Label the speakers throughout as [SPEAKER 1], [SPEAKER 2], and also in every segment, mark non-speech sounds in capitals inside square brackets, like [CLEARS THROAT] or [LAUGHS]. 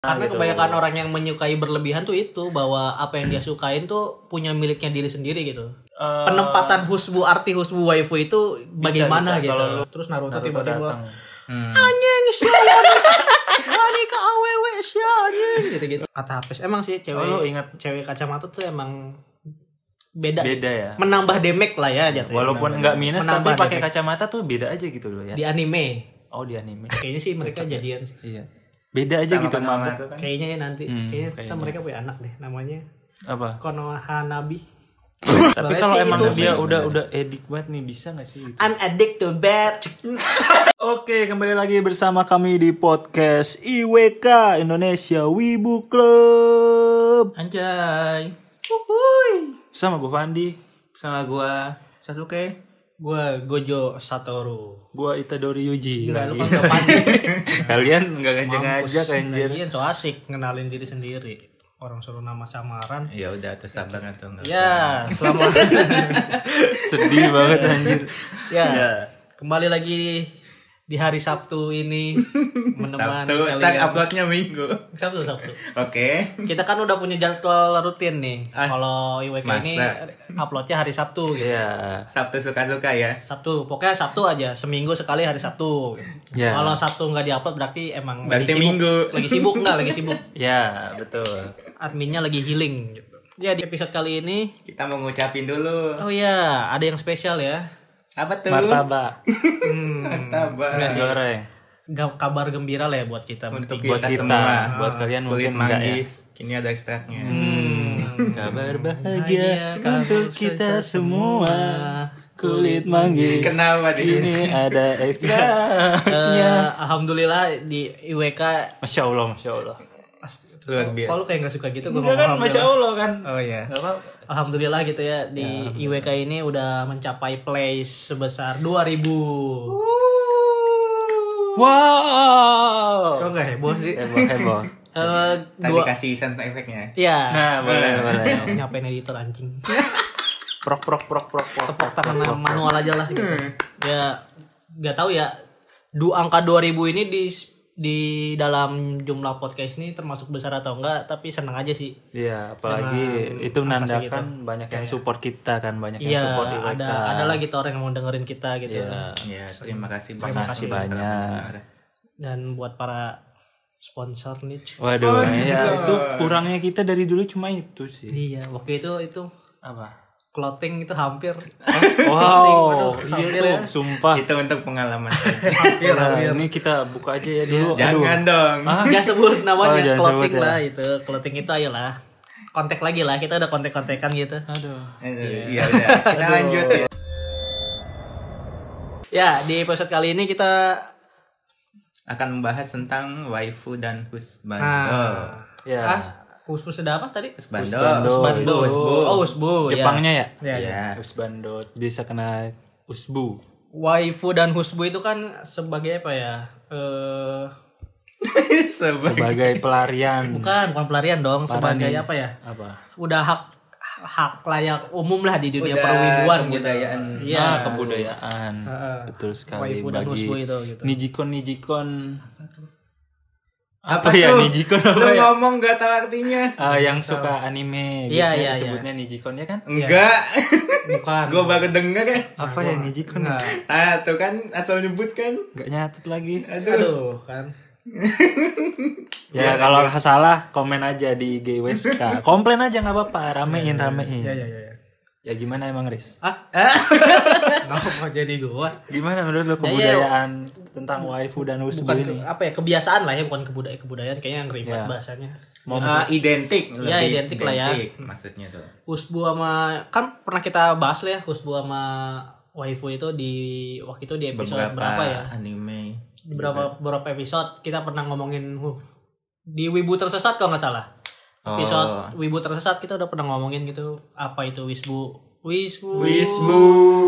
[SPEAKER 1] Karena
[SPEAKER 2] gitu.
[SPEAKER 1] kebanyakan orang yang menyukai berlebihan tuh itu bahwa apa yang dia sukain tuh punya miliknya diri sendiri gitu.
[SPEAKER 2] Eh,
[SPEAKER 1] Penempatan husbu arti husbu waifu itu bagaimana
[SPEAKER 2] bisa.
[SPEAKER 1] gitu.
[SPEAKER 2] Kalau lu-
[SPEAKER 1] Terus Naruto,
[SPEAKER 2] Naruto
[SPEAKER 1] tiba-tiba Hmm.
[SPEAKER 2] datang.
[SPEAKER 1] anjing sialan. Wani ke awewe sia, anjing gitu-gitu. Kata Hapes emang sih cewek
[SPEAKER 2] Oh, lu ingat.
[SPEAKER 1] cewek kacamata tuh emang beda.
[SPEAKER 2] beda ya
[SPEAKER 1] Menambah damage lah ya jatuhnya.
[SPEAKER 2] walaupun nggak minus
[SPEAKER 1] Menambah
[SPEAKER 2] tapi pakai
[SPEAKER 1] damage.
[SPEAKER 2] kacamata tuh beda aja gitu loh ya
[SPEAKER 1] di anime.
[SPEAKER 2] oh di anime
[SPEAKER 1] Kayaknya sih mereka jadian sih.
[SPEAKER 3] Iya.
[SPEAKER 2] beda aja
[SPEAKER 3] Sama
[SPEAKER 2] gitu
[SPEAKER 3] nama
[SPEAKER 2] mabuk
[SPEAKER 3] itu kan.
[SPEAKER 1] Kayaknya ya nanti
[SPEAKER 2] Hmm,
[SPEAKER 1] kayaknya, kita
[SPEAKER 2] kayaknya.
[SPEAKER 1] mereka punya anak deh namanya
[SPEAKER 2] Apa?
[SPEAKER 1] Konoha Nabi.
[SPEAKER 2] Tapi
[SPEAKER 1] Sebenarnya
[SPEAKER 2] kalau
[SPEAKER 1] sih
[SPEAKER 2] emang
[SPEAKER 1] itu
[SPEAKER 2] dia
[SPEAKER 3] sih
[SPEAKER 2] udah udah edik banget nih bisa nggak sih? Gitu?
[SPEAKER 1] I'm addicted to bad.
[SPEAKER 2] Oke, kembali lagi bersama kami di podcast IWK Indonesia Wibu Club.
[SPEAKER 3] Anjay.
[SPEAKER 2] Sama gue Fandi,
[SPEAKER 3] Sama gua Sasuke.
[SPEAKER 1] Gue Gojo Satoru. Iya.
[SPEAKER 2] gue Itadori Yuji.
[SPEAKER 1] Enggak lupa lupa
[SPEAKER 2] lagi.
[SPEAKER 1] [LAUGHS]
[SPEAKER 2] Kalian nggak ngajak ngajak anjir.
[SPEAKER 1] Lagian so asik ngenalin diri sendiri. Orang suruh nama samaran.
[SPEAKER 3] Ya udah tuh sabar atau enggak?
[SPEAKER 1] Ya, [LAUGHS] selamat.
[SPEAKER 2] Sedih banget anjir.
[SPEAKER 1] ya.
[SPEAKER 3] Iya.
[SPEAKER 1] Kembali lagi di hari Sabtu
[SPEAKER 3] [LAUGHS]
[SPEAKER 1] ini menemani
[SPEAKER 3] Sabtu, tak
[SPEAKER 1] kalian.
[SPEAKER 3] uploadnya minggu.
[SPEAKER 1] Sabtu, Sabtu.
[SPEAKER 3] Oke.
[SPEAKER 1] Kita kan udah punya jadwal rutin nih.
[SPEAKER 3] Ah,
[SPEAKER 1] Kalau IWK ini
[SPEAKER 3] masa?
[SPEAKER 1] uploadnya hari Sabtu gitu.
[SPEAKER 2] Iya.
[SPEAKER 3] Sabtu suka-suka ya.
[SPEAKER 1] Sabtu, pokoknya Sabtu aja, seminggu sekali hari Sabtu.
[SPEAKER 2] Ya.
[SPEAKER 1] Kalau Sabtu nggak diupload berarti emang
[SPEAKER 3] Berarti
[SPEAKER 1] sibuk.
[SPEAKER 3] minggu.
[SPEAKER 1] Lagi sibuk nggak? Lagi sibuk.
[SPEAKER 2] [LAUGHS] Ya, betul.
[SPEAKER 1] Adminnya lagi healing. Gitu. Ya di episode kali ini,
[SPEAKER 3] Kita mau ngucapin dulu.
[SPEAKER 1] oh ya ada yang spesial ya.
[SPEAKER 3] Apa tuh?
[SPEAKER 2] Martabak,
[SPEAKER 1] Hmm,
[SPEAKER 3] Martabak.
[SPEAKER 2] nasi goreng.
[SPEAKER 1] ga- kabar gembira lah ya buat kita.
[SPEAKER 3] Untuk
[SPEAKER 2] Buat
[SPEAKER 3] kita,
[SPEAKER 2] kita,
[SPEAKER 3] semua.
[SPEAKER 2] buat kalian
[SPEAKER 3] Kulit
[SPEAKER 2] mungkin enggak ya. Hmm,
[SPEAKER 3] manggis. Kini ada ekstraknya.
[SPEAKER 2] Kabar
[SPEAKER 1] Bahagia
[SPEAKER 2] bahagia
[SPEAKER 1] kamu
[SPEAKER 2] untuk kita
[SPEAKER 1] semua.
[SPEAKER 2] semua. Kulit manggis.
[SPEAKER 3] Kenapa
[SPEAKER 2] Ini
[SPEAKER 3] nih?
[SPEAKER 2] ada [LAUGHS] ekstraknya.
[SPEAKER 1] Eh, Alhamdulillah di IWK.
[SPEAKER 2] Masya Allah, Masya Allah.
[SPEAKER 3] Luar biasa.
[SPEAKER 1] Kalau kayak nggak suka gitu, gue
[SPEAKER 2] Enggak kan, Masya Allah kan.
[SPEAKER 1] Eh.
[SPEAKER 3] Oh
[SPEAKER 1] iya.
[SPEAKER 3] ya.
[SPEAKER 2] Gak apa
[SPEAKER 1] Alhamdulillah gitu ya di IWK ini udah mencapai place sebesar 2000.
[SPEAKER 2] Wow.
[SPEAKER 1] Kok nggak heboh sih?
[SPEAKER 2] Heboh, heboh.
[SPEAKER 1] Eh,
[SPEAKER 3] Tadi
[SPEAKER 1] dua
[SPEAKER 3] kasih sound efeknya.
[SPEAKER 1] ya
[SPEAKER 2] kan. Nah, boleh, boleh.
[SPEAKER 1] nyapain editor anjing
[SPEAKER 2] Prok, prok, prok, prok, prok.
[SPEAKER 1] tepuk tangan manual aja lah gitu.
[SPEAKER 2] Hmm.
[SPEAKER 1] ya nggak tahu ya du angka 2000 ini di di dalam jumlah podcast ini termasuk besar atau enggak tapi seneng aja sih
[SPEAKER 2] Iya, apalagi
[SPEAKER 1] Dengan
[SPEAKER 2] itu
[SPEAKER 1] Nah, apa sih gitu?
[SPEAKER 2] menandakan banyak yang support kita kan, banyak yang
[SPEAKER 1] iya
[SPEAKER 2] support IWK.
[SPEAKER 1] ada ada lagi tuh orang yang mau dengerin kita gitu
[SPEAKER 2] Iya.
[SPEAKER 3] Ya, terima kasih
[SPEAKER 2] Terima kasih banyak.
[SPEAKER 1] dan buat para sponsor nih
[SPEAKER 2] Waduh, ya, itu kurangnya kita dari dulu cuma itu sih.
[SPEAKER 1] iya waktu itu itu
[SPEAKER 2] Apa?
[SPEAKER 1] clothing itu hampir
[SPEAKER 2] Wow, iya
[SPEAKER 1] hampir
[SPEAKER 2] tuh, sumpah.
[SPEAKER 3] Itu untuk pengalaman.
[SPEAKER 2] Nah, ini kita buka aja ya dulu. [LAUGHS] Aduh.
[SPEAKER 3] Jangan dong.
[SPEAKER 1] Iya,
[SPEAKER 2] Ah,
[SPEAKER 1] Jangan sebut namanya
[SPEAKER 2] Oh, jangan
[SPEAKER 1] clothing
[SPEAKER 2] sebut ya.
[SPEAKER 1] lah itu clothing itu ayolah kontak lagi lah kita udah kontak-kontakan gitu
[SPEAKER 2] aduh.
[SPEAKER 3] Aduh, Iya udah. Kita lanjut ya.
[SPEAKER 1] ya di episode kali ini kita
[SPEAKER 3] Akan membahas tentang waifu dan husband.
[SPEAKER 1] nah
[SPEAKER 2] Ya.
[SPEAKER 1] ah khusus sudah apa tadi
[SPEAKER 3] Husbando.
[SPEAKER 2] Husbando.
[SPEAKER 3] Husbando. Husbu.
[SPEAKER 1] oh
[SPEAKER 3] [LAUGHS]
[SPEAKER 1] husbu ya.
[SPEAKER 2] Jepangnya ya?
[SPEAKER 1] ya, ya.
[SPEAKER 3] Iya.
[SPEAKER 2] Usbando bisa kena usbu.
[SPEAKER 1] waifu dan husbu itu kan sebagai apa ya eh
[SPEAKER 3] Sebagai
[SPEAKER 2] sebagai
[SPEAKER 1] [LAUGHS]
[SPEAKER 2] pelarian
[SPEAKER 1] bukan bukan pelarian dong sebagai
[SPEAKER 2] nih.
[SPEAKER 1] apa ya
[SPEAKER 2] apa?
[SPEAKER 1] udah hak hak layak umum lah di dunia
[SPEAKER 3] Udah
[SPEAKER 1] perwibuan gitu
[SPEAKER 3] kebudayaan.
[SPEAKER 1] iya
[SPEAKER 2] Ah, kebudayaan.
[SPEAKER 1] Heeh.
[SPEAKER 2] Betul sekali
[SPEAKER 1] Waifu dan
[SPEAKER 2] bagi
[SPEAKER 1] husbu itu, gitu.
[SPEAKER 2] Nijikon Nijikon
[SPEAKER 1] Oh
[SPEAKER 2] apa, ya
[SPEAKER 1] iya,
[SPEAKER 3] tuh?
[SPEAKER 2] Nijikon apa
[SPEAKER 3] Lu
[SPEAKER 2] ya?
[SPEAKER 3] ngomong gak tahu artinya.
[SPEAKER 2] Ah, yang suka anime
[SPEAKER 1] Iya,
[SPEAKER 2] biasanya
[SPEAKER 1] iya,
[SPEAKER 2] disebutnya Nijikon ya kan?
[SPEAKER 3] Enggak. [LAUGHS]
[SPEAKER 1] bukan
[SPEAKER 3] Gue baru denger ya.
[SPEAKER 2] Apa ya Nijikon?
[SPEAKER 1] Nah,
[SPEAKER 3] Ah, tuh kan asal nyebut kan.
[SPEAKER 2] Gak nyatet lagi.
[SPEAKER 3] Aduh.
[SPEAKER 1] aduh kan Iya,
[SPEAKER 2] Ya kalau salah komen aja di IG
[SPEAKER 1] [LAUGHS]
[SPEAKER 2] WSK. Komplain aja nggak apa-apa, ramein ramein.
[SPEAKER 1] ya ya ya, ya.
[SPEAKER 2] Ya gimana emang Riz?
[SPEAKER 1] ah mau jadi gua
[SPEAKER 2] Gimana menurut lo kebudayaan Ya, iya, tentang waifu dan husbu
[SPEAKER 1] bukan
[SPEAKER 2] ini?
[SPEAKER 1] ke- apa ya kebiasaan lah ya bukan kebudayaan kebudayaan kayaknya yang ribet
[SPEAKER 2] Ya.
[SPEAKER 1] bahasanya Eh,
[SPEAKER 2] Mau
[SPEAKER 3] Ah, identik.
[SPEAKER 1] Iya,
[SPEAKER 3] lebih
[SPEAKER 1] identik lah ya.
[SPEAKER 3] identik Maksudnya tuh.
[SPEAKER 1] husbu sama kan pernah kita bahas lah ya husbu sama waifu itu di waktu itu di episode berapa
[SPEAKER 3] Beberapa
[SPEAKER 1] ya
[SPEAKER 3] anime.
[SPEAKER 1] di berapa beberapa episode kita pernah ngomongin huh, di wibu tersesat kalau nggak salah
[SPEAKER 3] Oh.
[SPEAKER 1] episode wibu tersesat kita udah pernah ngomongin gitu apa itu wisbu wisbu
[SPEAKER 3] Wisbu.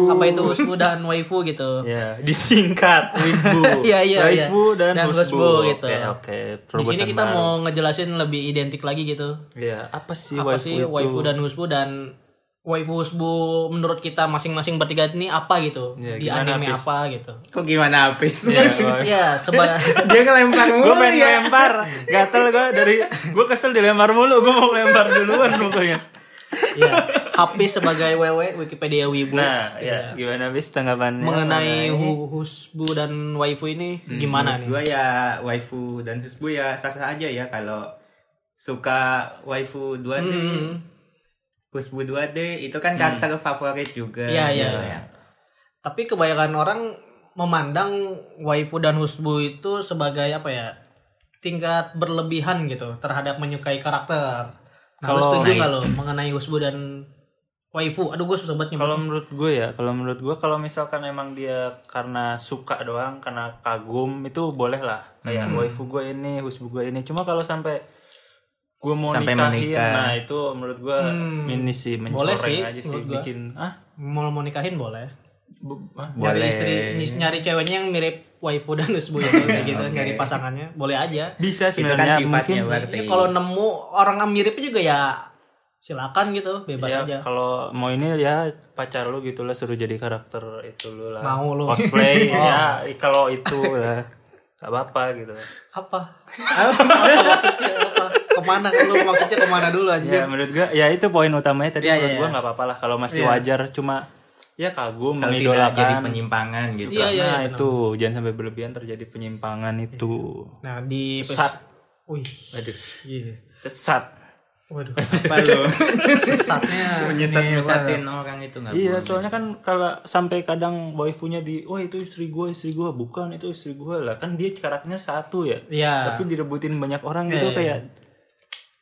[SPEAKER 1] apa itu husbu dan waifu gitu
[SPEAKER 2] Ya,
[SPEAKER 1] [LAUGHS]
[SPEAKER 2] disingkat Wisbu.
[SPEAKER 1] Iya, iya, iya.
[SPEAKER 2] Waifu dan,
[SPEAKER 1] Dan
[SPEAKER 2] Husbu.
[SPEAKER 1] Husbu gitu.
[SPEAKER 2] Oke, oke.
[SPEAKER 1] di
[SPEAKER 2] Terobosan
[SPEAKER 1] sini kita
[SPEAKER 2] baru.
[SPEAKER 1] mau ngejelasin lebih identik lagi gitu
[SPEAKER 2] Iya, apa sih
[SPEAKER 1] apa
[SPEAKER 2] waifu
[SPEAKER 1] sih
[SPEAKER 2] itu?
[SPEAKER 1] waifu dan husbu dan waifu husbu menurut kita masing-masing bertiga ini apa gitu
[SPEAKER 2] Ya,
[SPEAKER 1] di
[SPEAKER 2] gimana,
[SPEAKER 1] anime
[SPEAKER 2] Fis?
[SPEAKER 1] apa gitu
[SPEAKER 3] Kok gimana Apis?
[SPEAKER 1] [LAUGHS] ya
[SPEAKER 2] [LAUGHS]
[SPEAKER 1] seba
[SPEAKER 3] [LAUGHS] Dia ngelempar
[SPEAKER 2] gue
[SPEAKER 1] Oh,
[SPEAKER 3] mulu
[SPEAKER 2] Iya, pengen
[SPEAKER 1] iya.
[SPEAKER 3] ya.
[SPEAKER 2] lempar gatel gue dari gue kesel dilempar mulu gue mau lempar duluan pokoknya
[SPEAKER 1] ya Hafiz sebagai wewe Wikipedia Wibu Iya.
[SPEAKER 2] nah ya gimana bis tanggapannya
[SPEAKER 1] mengenai hu- husbu dan waifu ini
[SPEAKER 2] Hmm.
[SPEAKER 1] gimana nih
[SPEAKER 3] Gue ya waifu dan husbu ya sah-sah aja ya kalau suka waifu 2D,
[SPEAKER 1] Hmm.
[SPEAKER 3] husbu 2D itu kan karakter favorit juga.
[SPEAKER 1] Iya,
[SPEAKER 3] gitu
[SPEAKER 1] iya.
[SPEAKER 3] ya.
[SPEAKER 1] tapi kebanyakan orang memandang waifu dan husbu itu sebagai apa ya tingkat berlebihan gitu terhadap menyukai karakter nah, lu
[SPEAKER 2] Kalau-
[SPEAKER 1] setuju
[SPEAKER 3] Nah,
[SPEAKER 1] nggak lo mengenai husbu dan waifu aduh gue susah banget
[SPEAKER 2] kalau menurut gue ya kalau menurut gue kalau misalkan emang dia karena suka doang karena kagum itu boleh lah kayak
[SPEAKER 1] Hmm.
[SPEAKER 2] waifu gue ini husbu gue ini cuma kalau sampai gue mau
[SPEAKER 3] Sampai
[SPEAKER 2] nikahin
[SPEAKER 3] menikah.
[SPEAKER 2] nah itu menurut gue ini sih
[SPEAKER 1] Hmm. Boleh
[SPEAKER 2] mencoreng
[SPEAKER 1] sih,
[SPEAKER 2] aja sih
[SPEAKER 1] menurut gue.
[SPEAKER 2] bikin ah
[SPEAKER 1] mau mau nikahin boleh
[SPEAKER 2] bu- ah,
[SPEAKER 1] nyari
[SPEAKER 3] Boleh.
[SPEAKER 1] istri nyis- nyari ceweknya yang mirip waifu dan husbu gitu kayak gitu
[SPEAKER 3] Iya, Oke.
[SPEAKER 1] nyari pasangannya boleh aja
[SPEAKER 2] bisa
[SPEAKER 3] Itu kan
[SPEAKER 2] sebenarnya
[SPEAKER 3] sifatnya
[SPEAKER 2] mungkin
[SPEAKER 3] berarti.
[SPEAKER 1] Ya, kalau nemu orang yang mirip juga ya silakan gitu bebas
[SPEAKER 3] Iya.
[SPEAKER 2] ya
[SPEAKER 1] aja
[SPEAKER 2] kalau mau ini ya pacar lu gitu lah suruh jadi karakter itu lu lah
[SPEAKER 1] Mau lu.
[SPEAKER 2] cosplay
[SPEAKER 1] [LAUGHS] Oh.
[SPEAKER 2] ya kalau itu ya gak apa-apa gitu
[SPEAKER 1] apa apa maksudnya apa [LAUGHS] kemana lu maksudnya kemana dulu
[SPEAKER 2] ya
[SPEAKER 3] Iya.
[SPEAKER 1] [LAUGHS] aja
[SPEAKER 2] menurut gua ya itu poin utamanya tadi
[SPEAKER 1] Ya,
[SPEAKER 2] menurut
[SPEAKER 1] ya,
[SPEAKER 2] gua
[SPEAKER 1] ya.
[SPEAKER 2] nggak apa-apa lah kalau masih
[SPEAKER 1] Ya.
[SPEAKER 2] wajar cuma ya kagum
[SPEAKER 3] Kalau tidak jadi
[SPEAKER 2] mengidolakan
[SPEAKER 3] penyimpangan gitu.
[SPEAKER 1] Iya,
[SPEAKER 2] nah
[SPEAKER 1] iya, iya,
[SPEAKER 2] itu jangan sampai berlebihan terjadi penyimpangan itu
[SPEAKER 1] nah di
[SPEAKER 2] sesat
[SPEAKER 1] wih
[SPEAKER 2] aduh
[SPEAKER 1] iya.
[SPEAKER 2] sesat
[SPEAKER 3] [LAUGHS]
[SPEAKER 1] waduh
[SPEAKER 3] Apa lu?
[SPEAKER 1] sesatnya
[SPEAKER 3] Menyesat
[SPEAKER 1] ini,
[SPEAKER 3] nyesatin orang oh, itu nggak
[SPEAKER 2] Iya,
[SPEAKER 3] boleh.
[SPEAKER 2] soalnya kan kalau sampai kadang waifunya di, wah itu istri gua, istri gua bukan itu istri gua lah. Kan dia karakternya satu ya.
[SPEAKER 1] Iya.
[SPEAKER 2] Tapi direbutin banyak orang gitu kayak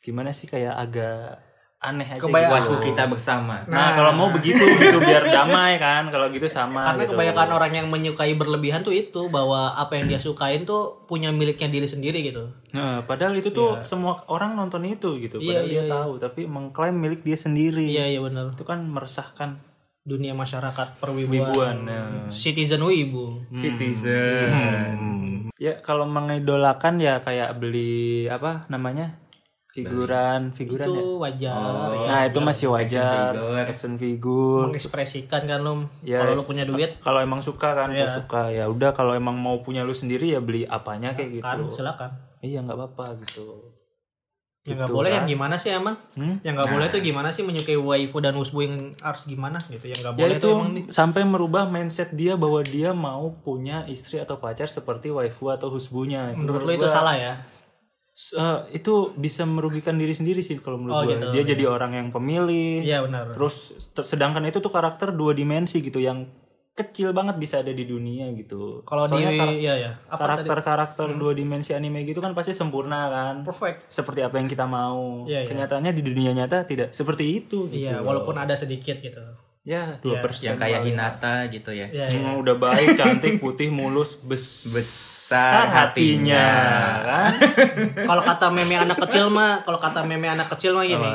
[SPEAKER 2] gimana sih kayak agak aneh aja.
[SPEAKER 1] Kebayang-
[SPEAKER 2] gitu.
[SPEAKER 3] Waktu kita bersama.
[SPEAKER 1] Hmm.
[SPEAKER 2] Nah, kalau mau begitu gitu
[SPEAKER 1] [LAUGHS]
[SPEAKER 2] biar damai kan. Kalau gitu sama
[SPEAKER 1] karena
[SPEAKER 2] gitu.
[SPEAKER 1] kebanyakan orang yang menyukai berlebihan tuh itu bahwa apa yang dia sukain tuh punya miliknya diri sendiri gitu
[SPEAKER 2] Nah, padahal itu tuh
[SPEAKER 1] Iya.
[SPEAKER 2] semua orang nonton itu gitu. Padahal dia tahu, tapi mengklaim milik dia sendiri.
[SPEAKER 1] iya iya benar
[SPEAKER 2] Itu kan meresahkan
[SPEAKER 1] dunia masyarakat perwibuan
[SPEAKER 2] ribuan. Nah,
[SPEAKER 1] citizen wibu
[SPEAKER 3] Citizen.
[SPEAKER 2] Ya kalau mengidolakan ya kayak beli apa namanya figuran figuran
[SPEAKER 1] itu Iya.
[SPEAKER 2] ya.
[SPEAKER 1] wajar
[SPEAKER 2] Nah itu masih wajar action figure.
[SPEAKER 1] mengekspresikan kan lu
[SPEAKER 2] Ya.
[SPEAKER 1] kalau lu punya duit
[SPEAKER 2] Kalau emang suka kan
[SPEAKER 1] Iya.
[SPEAKER 2] gua suka ya udah kalau emang mau punya lu sendiri ya beli apanya kayak gitu.
[SPEAKER 1] kan silakan
[SPEAKER 2] Iya nggak apa-apa gitu. kan.
[SPEAKER 1] yang nggak boleh yang gimana sih emang
[SPEAKER 2] Hmm?
[SPEAKER 1] yang nggak boleh tuh gimana sih menyukai waifu dan husbu yang harus gimana gitu yang nggak boleh tuh
[SPEAKER 2] Ya itu
[SPEAKER 1] emang nih
[SPEAKER 2] sampai merubah mindset dia bahwa dia mau punya istri atau pacar seperti waifu atau husbunya. Itu
[SPEAKER 1] menurut lo
[SPEAKER 2] menurut
[SPEAKER 1] itu
[SPEAKER 2] gua-
[SPEAKER 1] salah ya
[SPEAKER 2] S- eh, itu bisa merugikan diri sendiri sih kalau menurut
[SPEAKER 1] Oh,
[SPEAKER 2] gua.
[SPEAKER 1] gitu,
[SPEAKER 2] dia jadi orang yang pemilih.
[SPEAKER 1] iya benar
[SPEAKER 2] Terus ter- sedangkan itu tuh karakter dua dimensi gitu yang kecil banget bisa ada di dunia gitu.
[SPEAKER 1] kalau di
[SPEAKER 2] Soalnya kar-
[SPEAKER 1] iya ya apa Hmm.
[SPEAKER 2] karakter-karakter dua dimensi anime gitu kan pasti sempurna kan.
[SPEAKER 1] perfect
[SPEAKER 2] Seperti apa yang kita mau.
[SPEAKER 1] Iya, iya.
[SPEAKER 2] Kenyataannya di dunia nyata tidak seperti itu gitu.
[SPEAKER 1] iya walaupun ada sedikit gitu
[SPEAKER 2] Ya, 2%
[SPEAKER 3] Yang Iya,
[SPEAKER 1] [LAUGHS]
[SPEAKER 3] kayak Hinata gitu ya.
[SPEAKER 1] iya iya
[SPEAKER 2] Hmm, udah baik, cantik, putih, mulus, bes-
[SPEAKER 3] Besar hatinya.
[SPEAKER 2] kan?
[SPEAKER 1] kalau kata meme anak kecil mah kalau kata meme anak kecil mah gini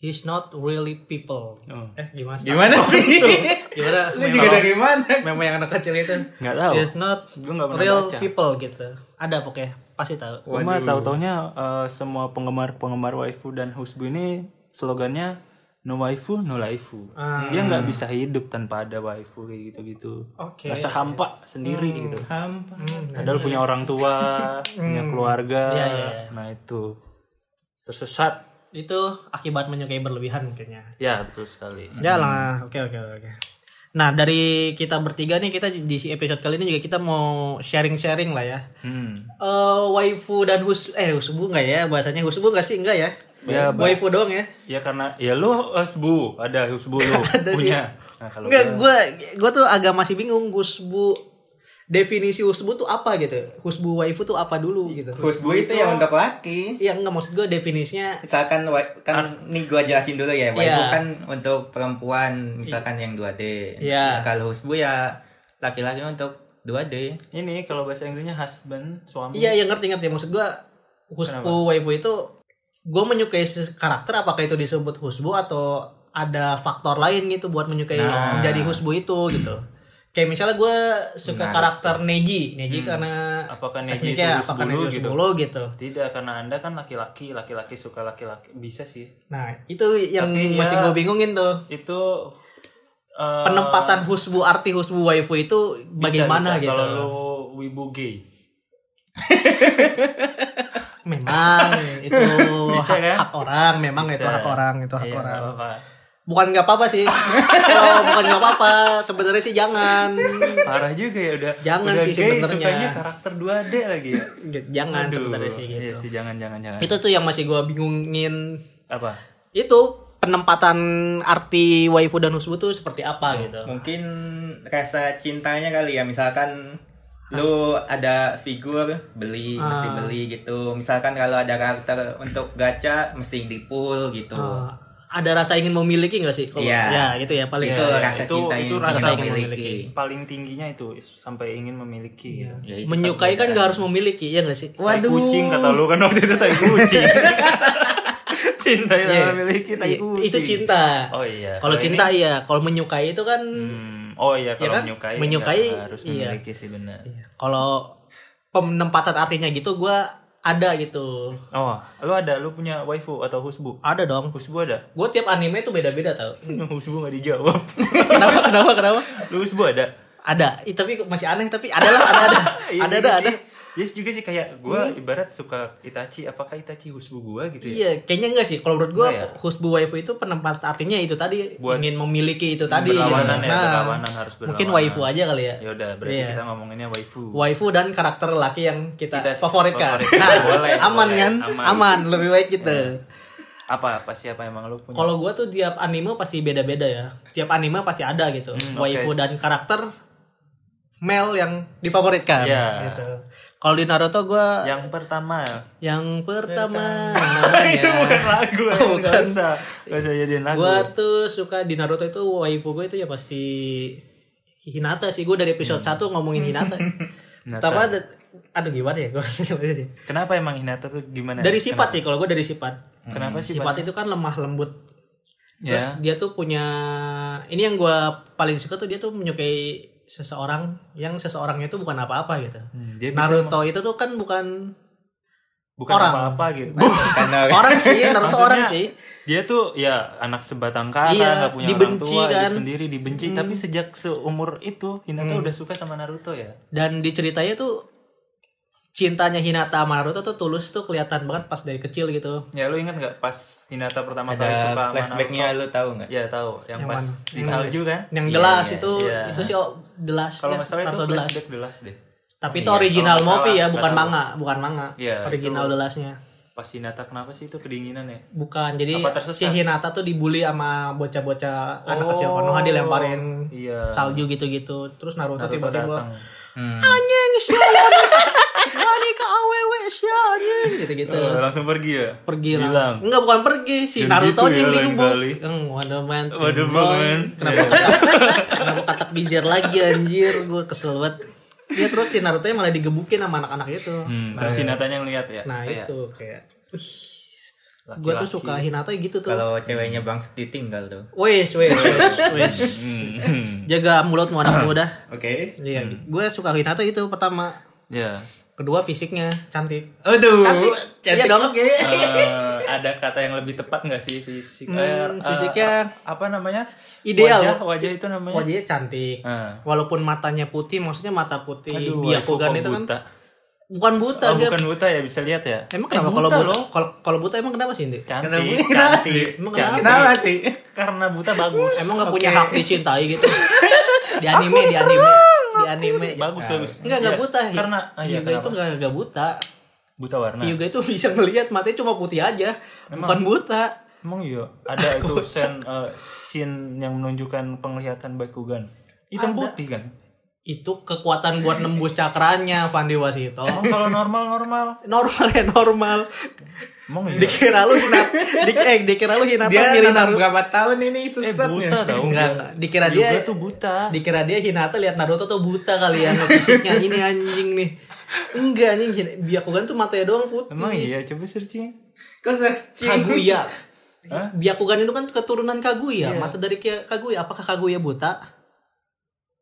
[SPEAKER 1] he's not really people eh gimana sih?
[SPEAKER 3] Oh. Gimana sih?
[SPEAKER 1] gimana
[SPEAKER 3] Lu
[SPEAKER 1] meme,
[SPEAKER 3] juga dari mana?
[SPEAKER 1] meme yang anak kecil itu
[SPEAKER 2] Nggak tahu.
[SPEAKER 1] he's not
[SPEAKER 2] Gua nggak pernah
[SPEAKER 1] real
[SPEAKER 2] baca.
[SPEAKER 1] people gitu ada pokoknya pasti tahu
[SPEAKER 2] Gua mah tahu-taunya eh, semua penggemar-penggemar waifu dan husbu ini slogannya no waifu no laifu.
[SPEAKER 1] Ah.
[SPEAKER 2] Dia nggak bisa hidup tanpa ada waifu kayak gitu-gitu.
[SPEAKER 1] Oke. Hmm.
[SPEAKER 2] Rasa hampa sendiri gitu.
[SPEAKER 3] Hampa.
[SPEAKER 2] Padahal punya orang tua, punya keluarga.
[SPEAKER 1] Iya, iya, iya.
[SPEAKER 2] Nah, itu. Tersesat.
[SPEAKER 1] itu akibat menyukai berlebihan mungkinnya
[SPEAKER 2] Ya, betul sekali.
[SPEAKER 3] Hmm.
[SPEAKER 1] Ya lah, oke oke oke. Nah dari kita bertiga nih kita di episode kali ini juga kita mau sharing-sharing lah ya.
[SPEAKER 2] Hmm.
[SPEAKER 1] Eh waifu dan hus eh husbu enggak ya bahasanya husbu enggak sih enggak ya?
[SPEAKER 2] Ya,
[SPEAKER 1] waifu doang ya.
[SPEAKER 2] Ya karena ya lu husbu, ada husbu
[SPEAKER 1] [LAUGHS]
[SPEAKER 2] lu punya. Nah, kalau
[SPEAKER 1] Enggak, gue gue tuh agak masih bingung husbu definisi husbu tuh apa gitu. Husbu waifu tuh apa dulu gitu.
[SPEAKER 3] Husbu itu yang untuk laki.
[SPEAKER 1] Iya enggak maksud gue definisinya
[SPEAKER 3] misalkan wa- kan nih gua jelasin dulu ya waifu
[SPEAKER 1] Iya.
[SPEAKER 3] kan untuk perempuan misalkan yang 2D
[SPEAKER 1] Iya.
[SPEAKER 3] Nah, kalau husbu ya laki-laki untuk 2D
[SPEAKER 2] ini kalau bahasa Inggrisnya husband, suami.
[SPEAKER 1] Iya, yang ngerti ngerti maksud gua husbu waifu itu gua menyukai se- karakter apakah itu disebut
[SPEAKER 2] Nah.
[SPEAKER 1] husbu atau ada faktor lain gitu buat menyukai menjadi husbu itu gitu. kayak misalnya gue suka
[SPEAKER 3] Menarik.
[SPEAKER 1] karakter Neji Neji karena
[SPEAKER 2] Hmm. Apakah Neji
[SPEAKER 1] tekniknya
[SPEAKER 2] tulus
[SPEAKER 1] apakah
[SPEAKER 2] dulu
[SPEAKER 1] Neji tulus
[SPEAKER 2] gitu?
[SPEAKER 1] dulu gitu
[SPEAKER 2] Tidak, karena Anda kan laki-laki, laki-laki suka laki-laki. Bisa sih.
[SPEAKER 1] nah itu yang
[SPEAKER 2] Tapi
[SPEAKER 1] masih
[SPEAKER 2] ya-
[SPEAKER 1] gue bingungin tuh
[SPEAKER 2] Itu eh,
[SPEAKER 1] penempatan husbu arti husbu waifu itu
[SPEAKER 2] bisa,
[SPEAKER 1] bagaimana
[SPEAKER 2] bisa.
[SPEAKER 1] gitu
[SPEAKER 2] Kalau lu wibu gay. [LAUGHS]
[SPEAKER 1] memang itu
[SPEAKER 2] Bisa,
[SPEAKER 1] hak,
[SPEAKER 2] kan?
[SPEAKER 1] hak orang memang
[SPEAKER 2] Bisa.
[SPEAKER 1] itu hak orang itu hak
[SPEAKER 2] Iya,
[SPEAKER 1] orang
[SPEAKER 2] nggak apa-apa.
[SPEAKER 1] bukan nggak apa-apa [LAUGHS] sih Kalau bukan nggak apa-apa sebenarnya sih jangan
[SPEAKER 2] Parah juga ya udah.
[SPEAKER 1] Jangan
[SPEAKER 2] udah
[SPEAKER 1] sih
[SPEAKER 2] gay,
[SPEAKER 1] sebenarnya.
[SPEAKER 2] Sukanya karakter 2D lagi ya.
[SPEAKER 1] jangan [LAUGHS]
[SPEAKER 2] Aduh,
[SPEAKER 1] sebenarnya sih gitu
[SPEAKER 2] Iya sih, jangan jangan jangan.
[SPEAKER 1] itu tuh yang masih gue bingungin
[SPEAKER 2] Apa?
[SPEAKER 1] itu penempatan arti waifu dan husbu tuh seperti apa
[SPEAKER 2] Hmm.
[SPEAKER 1] gitu
[SPEAKER 3] mungkin rasa cintanya kali ya misalkan lu ada figur beli mesti
[SPEAKER 1] Ah.
[SPEAKER 3] beli gitu misalkan kalau ada karakter untuk gacha mesti di pull gitu
[SPEAKER 1] Uh, ada rasa ingin memiliki nggak sih kalau
[SPEAKER 3] Iya.
[SPEAKER 1] ya gitu ya paling
[SPEAKER 3] itu
[SPEAKER 2] Iya,
[SPEAKER 3] rasa
[SPEAKER 2] itu-
[SPEAKER 3] cinta
[SPEAKER 2] itu
[SPEAKER 3] yang
[SPEAKER 2] rasa
[SPEAKER 3] kita
[SPEAKER 1] ingin
[SPEAKER 3] miliki
[SPEAKER 2] Paling tingginya itu sampai ingin memiliki. gitu.
[SPEAKER 3] Ya, itu
[SPEAKER 1] Iya. menyukai kan nggak harus memiliki ya nggak sih
[SPEAKER 2] Tai
[SPEAKER 3] waduh
[SPEAKER 2] kucing kata lu kan waktu itu tai
[SPEAKER 1] [LAUGHS]
[SPEAKER 2] kucing. cinta yang
[SPEAKER 1] Iya.
[SPEAKER 2] memiliki tai
[SPEAKER 1] Iya,
[SPEAKER 2] kucing.
[SPEAKER 1] itu cinta
[SPEAKER 2] Oh iya.
[SPEAKER 1] kalau
[SPEAKER 2] ini-
[SPEAKER 1] cinta iya kalau menyukai itu kan
[SPEAKER 2] Hmm, oh iya kalau
[SPEAKER 1] kan?
[SPEAKER 2] menyukai.
[SPEAKER 1] Menyukai,
[SPEAKER 2] nggak harus
[SPEAKER 1] iya.
[SPEAKER 2] memiliki sih benar.
[SPEAKER 1] kalau penempatan artinya gitu gua ada gitu
[SPEAKER 2] Oh, lu ada lu punya waifu atau husbu?
[SPEAKER 1] ada dong
[SPEAKER 2] Husbu ada? [LAUGHS]
[SPEAKER 1] gue tiap anime tuh beda-beda tau
[SPEAKER 2] husbu nggak dijawab.
[SPEAKER 1] [LAUGHS] kenapa kenapa kenapa
[SPEAKER 2] lu husbu ada?
[SPEAKER 1] ada Ih, tapi masih aneh tapi ada lah ada [LAUGHS] ada
[SPEAKER 2] Iya
[SPEAKER 1] ada
[SPEAKER 2] juga
[SPEAKER 1] ada, ada.
[SPEAKER 2] sih. Hmm. Yes juga sih kayak gue ibarat suka Itachi, apakah Itachi husbu gue gitu ya?
[SPEAKER 1] Iya, kayaknya enggak sih. Kalau menurut gua,
[SPEAKER 2] Enggak
[SPEAKER 1] husbu waifu itu penempat artinya itu tadi
[SPEAKER 2] Oh, iya. Buat
[SPEAKER 1] ingin memiliki itu tadi.
[SPEAKER 2] berlawanan
[SPEAKER 1] gitu.
[SPEAKER 2] ya, berlawanan, harus
[SPEAKER 1] Mungkin
[SPEAKER 2] berlawanan.
[SPEAKER 1] waifu aja kali ya.
[SPEAKER 2] Ya udah berarti
[SPEAKER 1] Iya.
[SPEAKER 2] kita ngomonginnya waifu.
[SPEAKER 1] Waifu dan karakter laki yang kita,
[SPEAKER 2] Kita
[SPEAKER 1] favoritkan.
[SPEAKER 2] favoritkan.
[SPEAKER 1] Nah,
[SPEAKER 2] Boleh,
[SPEAKER 1] aman
[SPEAKER 2] boleh.
[SPEAKER 1] kan?
[SPEAKER 2] Aman. Nah.
[SPEAKER 1] Aman. lebih baik gitu.
[SPEAKER 2] Apa apa siapa emang lu punya?
[SPEAKER 1] Kalau gua tuh tiap anime pasti beda-beda ya. Tiap anime pasti ada gitu.
[SPEAKER 2] Hmm,
[SPEAKER 1] waifu
[SPEAKER 2] oke.
[SPEAKER 1] dan karakter male yang difavoritkan
[SPEAKER 2] Iya. Ya.
[SPEAKER 1] gitu. Kalau di Naruto gua yang,
[SPEAKER 2] yang pertama
[SPEAKER 1] pertama
[SPEAKER 2] [LAUGHS]
[SPEAKER 1] namanya
[SPEAKER 2] itu bukan [LAUGHS] lagu ya,
[SPEAKER 1] Bukan.
[SPEAKER 2] nggak usah nggak usah jadiin lagu
[SPEAKER 1] gue tuh suka di Naruto itu waifu gue itu ya pasti Hinata sih gue dari episode 1 ngomongin Hinata
[SPEAKER 2] Hmm. [LAUGHS] Hinata.
[SPEAKER 1] tapi ada aduh [LAUGHS] gimana ya gue
[SPEAKER 2] kenapa emang Hinata tuh gimana
[SPEAKER 1] dari sifat sih kalau gue dari sifat
[SPEAKER 2] kenapa sih
[SPEAKER 1] sifat itu kan lemah lembut terus
[SPEAKER 2] ya
[SPEAKER 1] dia tuh punya ini yang gue paling suka tuh dia tuh menyukai seseorang yang seseorangnya itu bukan apa-apa gitu
[SPEAKER 2] Hmm, dia bisa
[SPEAKER 1] Naruto itu tuh kan bukan
[SPEAKER 2] bukan
[SPEAKER 1] orang.
[SPEAKER 2] apa-apa gitu
[SPEAKER 3] [LAUGHS] karena
[SPEAKER 1] orang sih
[SPEAKER 2] [LAUGHS]
[SPEAKER 1] Naruto
[SPEAKER 2] Maksudnya,
[SPEAKER 1] orang sih
[SPEAKER 2] dia tuh ya anak sebatang kara
[SPEAKER 1] Iya,
[SPEAKER 2] nggak punya
[SPEAKER 1] dibenci
[SPEAKER 2] orang tua dia
[SPEAKER 1] kan. Mm.
[SPEAKER 2] sendiri dibenci tapi sejak seumur itu Hinata udah suka sama Naruto ya
[SPEAKER 1] dan di ceritanya tuh cintanya Hinata sama Naruto tuh tulus tuh kelihatan banget pas dari kecil gitu
[SPEAKER 2] ya lu ingat nggak pas Hinata pertama kali suka sama
[SPEAKER 3] ada flashbacknya
[SPEAKER 2] Naruto?
[SPEAKER 3] lu tahu nggak
[SPEAKER 2] ya tahu yang,
[SPEAKER 1] Yang
[SPEAKER 2] pas
[SPEAKER 1] mana?
[SPEAKER 2] di
[SPEAKER 1] Yang
[SPEAKER 2] salju kan
[SPEAKER 1] yang
[SPEAKER 3] Iya,
[SPEAKER 1] jelas
[SPEAKER 3] iya,
[SPEAKER 1] itu
[SPEAKER 2] iya.
[SPEAKER 1] itu sih oh, jelas
[SPEAKER 2] kalau nggak salah itu
[SPEAKER 1] Naruto jelas.
[SPEAKER 2] flashback delas deh
[SPEAKER 1] tapi itu
[SPEAKER 2] Iya,
[SPEAKER 1] original
[SPEAKER 2] kalau nggak
[SPEAKER 1] movie
[SPEAKER 2] salah,
[SPEAKER 1] ya
[SPEAKER 2] nggak
[SPEAKER 1] bukan
[SPEAKER 2] tahu.
[SPEAKER 1] manga bukan manga
[SPEAKER 2] Iya,
[SPEAKER 1] original
[SPEAKER 2] itu-
[SPEAKER 1] jelasnya
[SPEAKER 2] pas Hinata kenapa sih itu kedinginan ya
[SPEAKER 1] bukan jadi
[SPEAKER 2] Apa tersesat?
[SPEAKER 1] si Hinata tuh dibully sama bocah-bocah anak
[SPEAKER 2] Oh,
[SPEAKER 1] kecil Konoha dilemparin
[SPEAKER 2] iya.
[SPEAKER 1] salju gitu-gitu terus Naruto,
[SPEAKER 2] Naruto datang.
[SPEAKER 1] tiba-tiba anjing siapa ini ke awewe siapa anjing gitu-gitu
[SPEAKER 2] Oh, langsung pergi ya
[SPEAKER 1] Iya. pergi
[SPEAKER 2] Hilang.
[SPEAKER 1] lah. Enggak bukan pergi si
[SPEAKER 2] Yang
[SPEAKER 1] Naruto
[SPEAKER 2] gitu
[SPEAKER 1] aja yang
[SPEAKER 2] ya, lain
[SPEAKER 1] digebuk.
[SPEAKER 2] kali.
[SPEAKER 1] Eng, Wonder Man.
[SPEAKER 2] Wonder
[SPEAKER 1] Tomboy.
[SPEAKER 2] Man.
[SPEAKER 1] Kenapa
[SPEAKER 2] Iya.
[SPEAKER 1] katak, kenapa katak bizar lagi anjir? Gue kesel banget. Dia terus si Naruto nya malah digebukin sama anak-anak itu.
[SPEAKER 2] Hmm, terus Hinata yang lihat ya
[SPEAKER 1] iya. Nah,
[SPEAKER 2] Kayak
[SPEAKER 1] itu kayak
[SPEAKER 2] laki-laki.
[SPEAKER 1] gue tuh suka Hinata gitu tuh.
[SPEAKER 3] kalau ceweknya bang ditinggal tuh
[SPEAKER 1] Wes, [LAUGHS] wes, wes, wes.
[SPEAKER 2] Hmm. [LAUGHS]
[SPEAKER 1] Jaga mulutmu anak muda.
[SPEAKER 3] oke
[SPEAKER 1] [CLEARS THROAT] Iya, gue suka Hinata itu pertama.
[SPEAKER 2] ya
[SPEAKER 1] Kedua fisiknya cantik.
[SPEAKER 3] aduh
[SPEAKER 1] Cantik. Iya dong.
[SPEAKER 3] oke
[SPEAKER 2] Eh, ada kata yang lebih tepat nggak sih fisik
[SPEAKER 1] Hmm,
[SPEAKER 2] eh, eh,
[SPEAKER 1] fisiknya
[SPEAKER 2] apa namanya
[SPEAKER 1] ideal.
[SPEAKER 2] wajah, wajah itu namanya
[SPEAKER 1] Wajahnya Oh, cantik.
[SPEAKER 2] Eh.
[SPEAKER 1] Walaupun matanya putih, maksudnya mata putih
[SPEAKER 2] Aduh,
[SPEAKER 1] Byakugan
[SPEAKER 2] waifu
[SPEAKER 1] itu
[SPEAKER 2] kok
[SPEAKER 1] kan
[SPEAKER 2] buta.
[SPEAKER 1] bukan buta
[SPEAKER 2] Oh,
[SPEAKER 1] dia
[SPEAKER 2] bukan buta ya bisa lihat ya
[SPEAKER 1] Emang
[SPEAKER 2] Eh,
[SPEAKER 1] kenapa kalau buta?
[SPEAKER 2] loh.
[SPEAKER 1] Kalau kalau buta emang kenapa sih, Ndi?
[SPEAKER 3] Kenapa
[SPEAKER 2] cantik
[SPEAKER 3] buta?
[SPEAKER 2] cantik
[SPEAKER 1] Emang kenapa?
[SPEAKER 2] cantik
[SPEAKER 3] kenapa sih
[SPEAKER 2] karena buta bagus
[SPEAKER 1] Emang nggak punya hak dicintai
[SPEAKER 2] [LAUGHS]
[SPEAKER 1] gitu? di anime, di anime, di anime.
[SPEAKER 2] bagus bagus
[SPEAKER 1] Enggak enggak
[SPEAKER 2] Iya,
[SPEAKER 1] buta.
[SPEAKER 2] karena ah, iya,
[SPEAKER 1] Hyuga itu
[SPEAKER 2] kenapa? Nah.
[SPEAKER 1] enggak enggak buta.
[SPEAKER 2] buta warna
[SPEAKER 1] Hyuga itu [LAUGHS] bisa ngelihat matanya cuma putih aja, bukan buta.
[SPEAKER 2] Emang iya,
[SPEAKER 1] [LAUGHS]
[SPEAKER 2] ada itu sen eh, scene yang menunjukkan penglihatan Bakugan. Hitam putih kan?
[SPEAKER 1] Itu kekuatan buat nembus cakranya Fandi Wasito.
[SPEAKER 2] Emang kalau normal-normal,
[SPEAKER 1] Normal ya normal.
[SPEAKER 2] emang iya.
[SPEAKER 1] Dikira lu hinat, dik, eh, dikira lu hinata
[SPEAKER 3] dia
[SPEAKER 1] milih
[SPEAKER 3] nanam
[SPEAKER 1] Naruto.
[SPEAKER 3] berapa tahun
[SPEAKER 2] Eh
[SPEAKER 3] ini susah ya?
[SPEAKER 2] buta
[SPEAKER 1] Enggak,
[SPEAKER 2] tau dia.
[SPEAKER 1] enggak. Dikira
[SPEAKER 2] Hyuga
[SPEAKER 1] dia-
[SPEAKER 2] tuh buta.
[SPEAKER 1] Dikira dia Hinata lihat Naruto tuh buta kali ya sama fisiknya ini anjing nih. Enggak anjing, Hin- Byakugan tuh matanya doang putih.
[SPEAKER 2] Emang iya, coba searching.
[SPEAKER 3] kok searching
[SPEAKER 1] Kaguya.
[SPEAKER 2] Hah?
[SPEAKER 1] Byakugan itu kan keturunan Kaguya,
[SPEAKER 2] Iya.
[SPEAKER 1] mata dari Ki- Kaguya. Apakah Kaguya buta?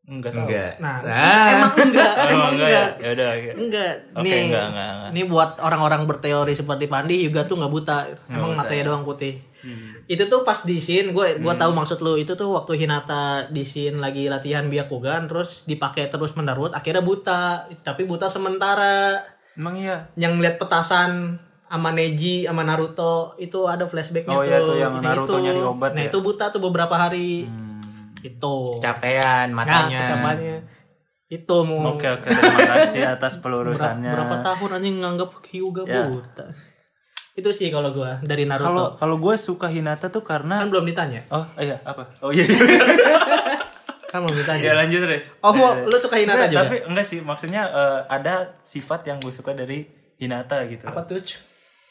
[SPEAKER 2] Enggak tahu.
[SPEAKER 3] Enggak.
[SPEAKER 1] Nah,
[SPEAKER 3] Ah.
[SPEAKER 1] emang enggak,
[SPEAKER 2] Oh,
[SPEAKER 1] [LAUGHS] emang
[SPEAKER 2] enggak
[SPEAKER 1] enggak.
[SPEAKER 2] ya. Ya udah. oke.
[SPEAKER 1] Enggak.
[SPEAKER 2] Oke,
[SPEAKER 1] nih,
[SPEAKER 2] enggak, enggak, enggak.
[SPEAKER 1] nih buat orang-orang berteori seperti Pandi juga tuh nggak buta. Emang matanya
[SPEAKER 2] ya.
[SPEAKER 1] doang putih.
[SPEAKER 2] Hmm.
[SPEAKER 1] Itu tuh pas di scene gue gua tahu maksud lu. Itu tuh waktu Hinata di scene lagi latihan Byakugan terus dipakai terus-menerus akhirnya buta. Tapi buta sementara
[SPEAKER 2] Emang iya.
[SPEAKER 1] yang lihat petasan sama Neji sama Naruto itu ada flashbacknya
[SPEAKER 2] Oh,
[SPEAKER 1] tuh.
[SPEAKER 2] iya, tuh yang Naruto
[SPEAKER 1] itu.
[SPEAKER 2] nyari obat
[SPEAKER 1] Nah,
[SPEAKER 2] ya? Hmm.
[SPEAKER 1] itu buta tuh beberapa hari. Itu.
[SPEAKER 3] Capean
[SPEAKER 1] Nah,
[SPEAKER 3] matanya.
[SPEAKER 1] kecapannya. Itu mau
[SPEAKER 2] Oke oke terima kasih atas
[SPEAKER 1] Berapa,
[SPEAKER 2] pelurusannya.
[SPEAKER 1] berapa tahun anjing nganggap Hyuga
[SPEAKER 2] Ya.
[SPEAKER 1] buta. Itu sih kalau gua dari Naruto.
[SPEAKER 2] Kalau kalau gue suka Hinata tuh karena
[SPEAKER 1] Kan belum ditanya.
[SPEAKER 2] oh iya apa? Oh iya. [LAUGHS]
[SPEAKER 1] Kan belum
[SPEAKER 2] ya
[SPEAKER 1] ditanya.
[SPEAKER 2] lanjut Riz.
[SPEAKER 1] Oh, mau- lu suka Hinata
[SPEAKER 2] Enggak,
[SPEAKER 1] juga?
[SPEAKER 2] Tapi enggak sih, maksudnya eh, ada sifat yang gue suka dari Hinata gitu.
[SPEAKER 1] Apa tuh? Cu?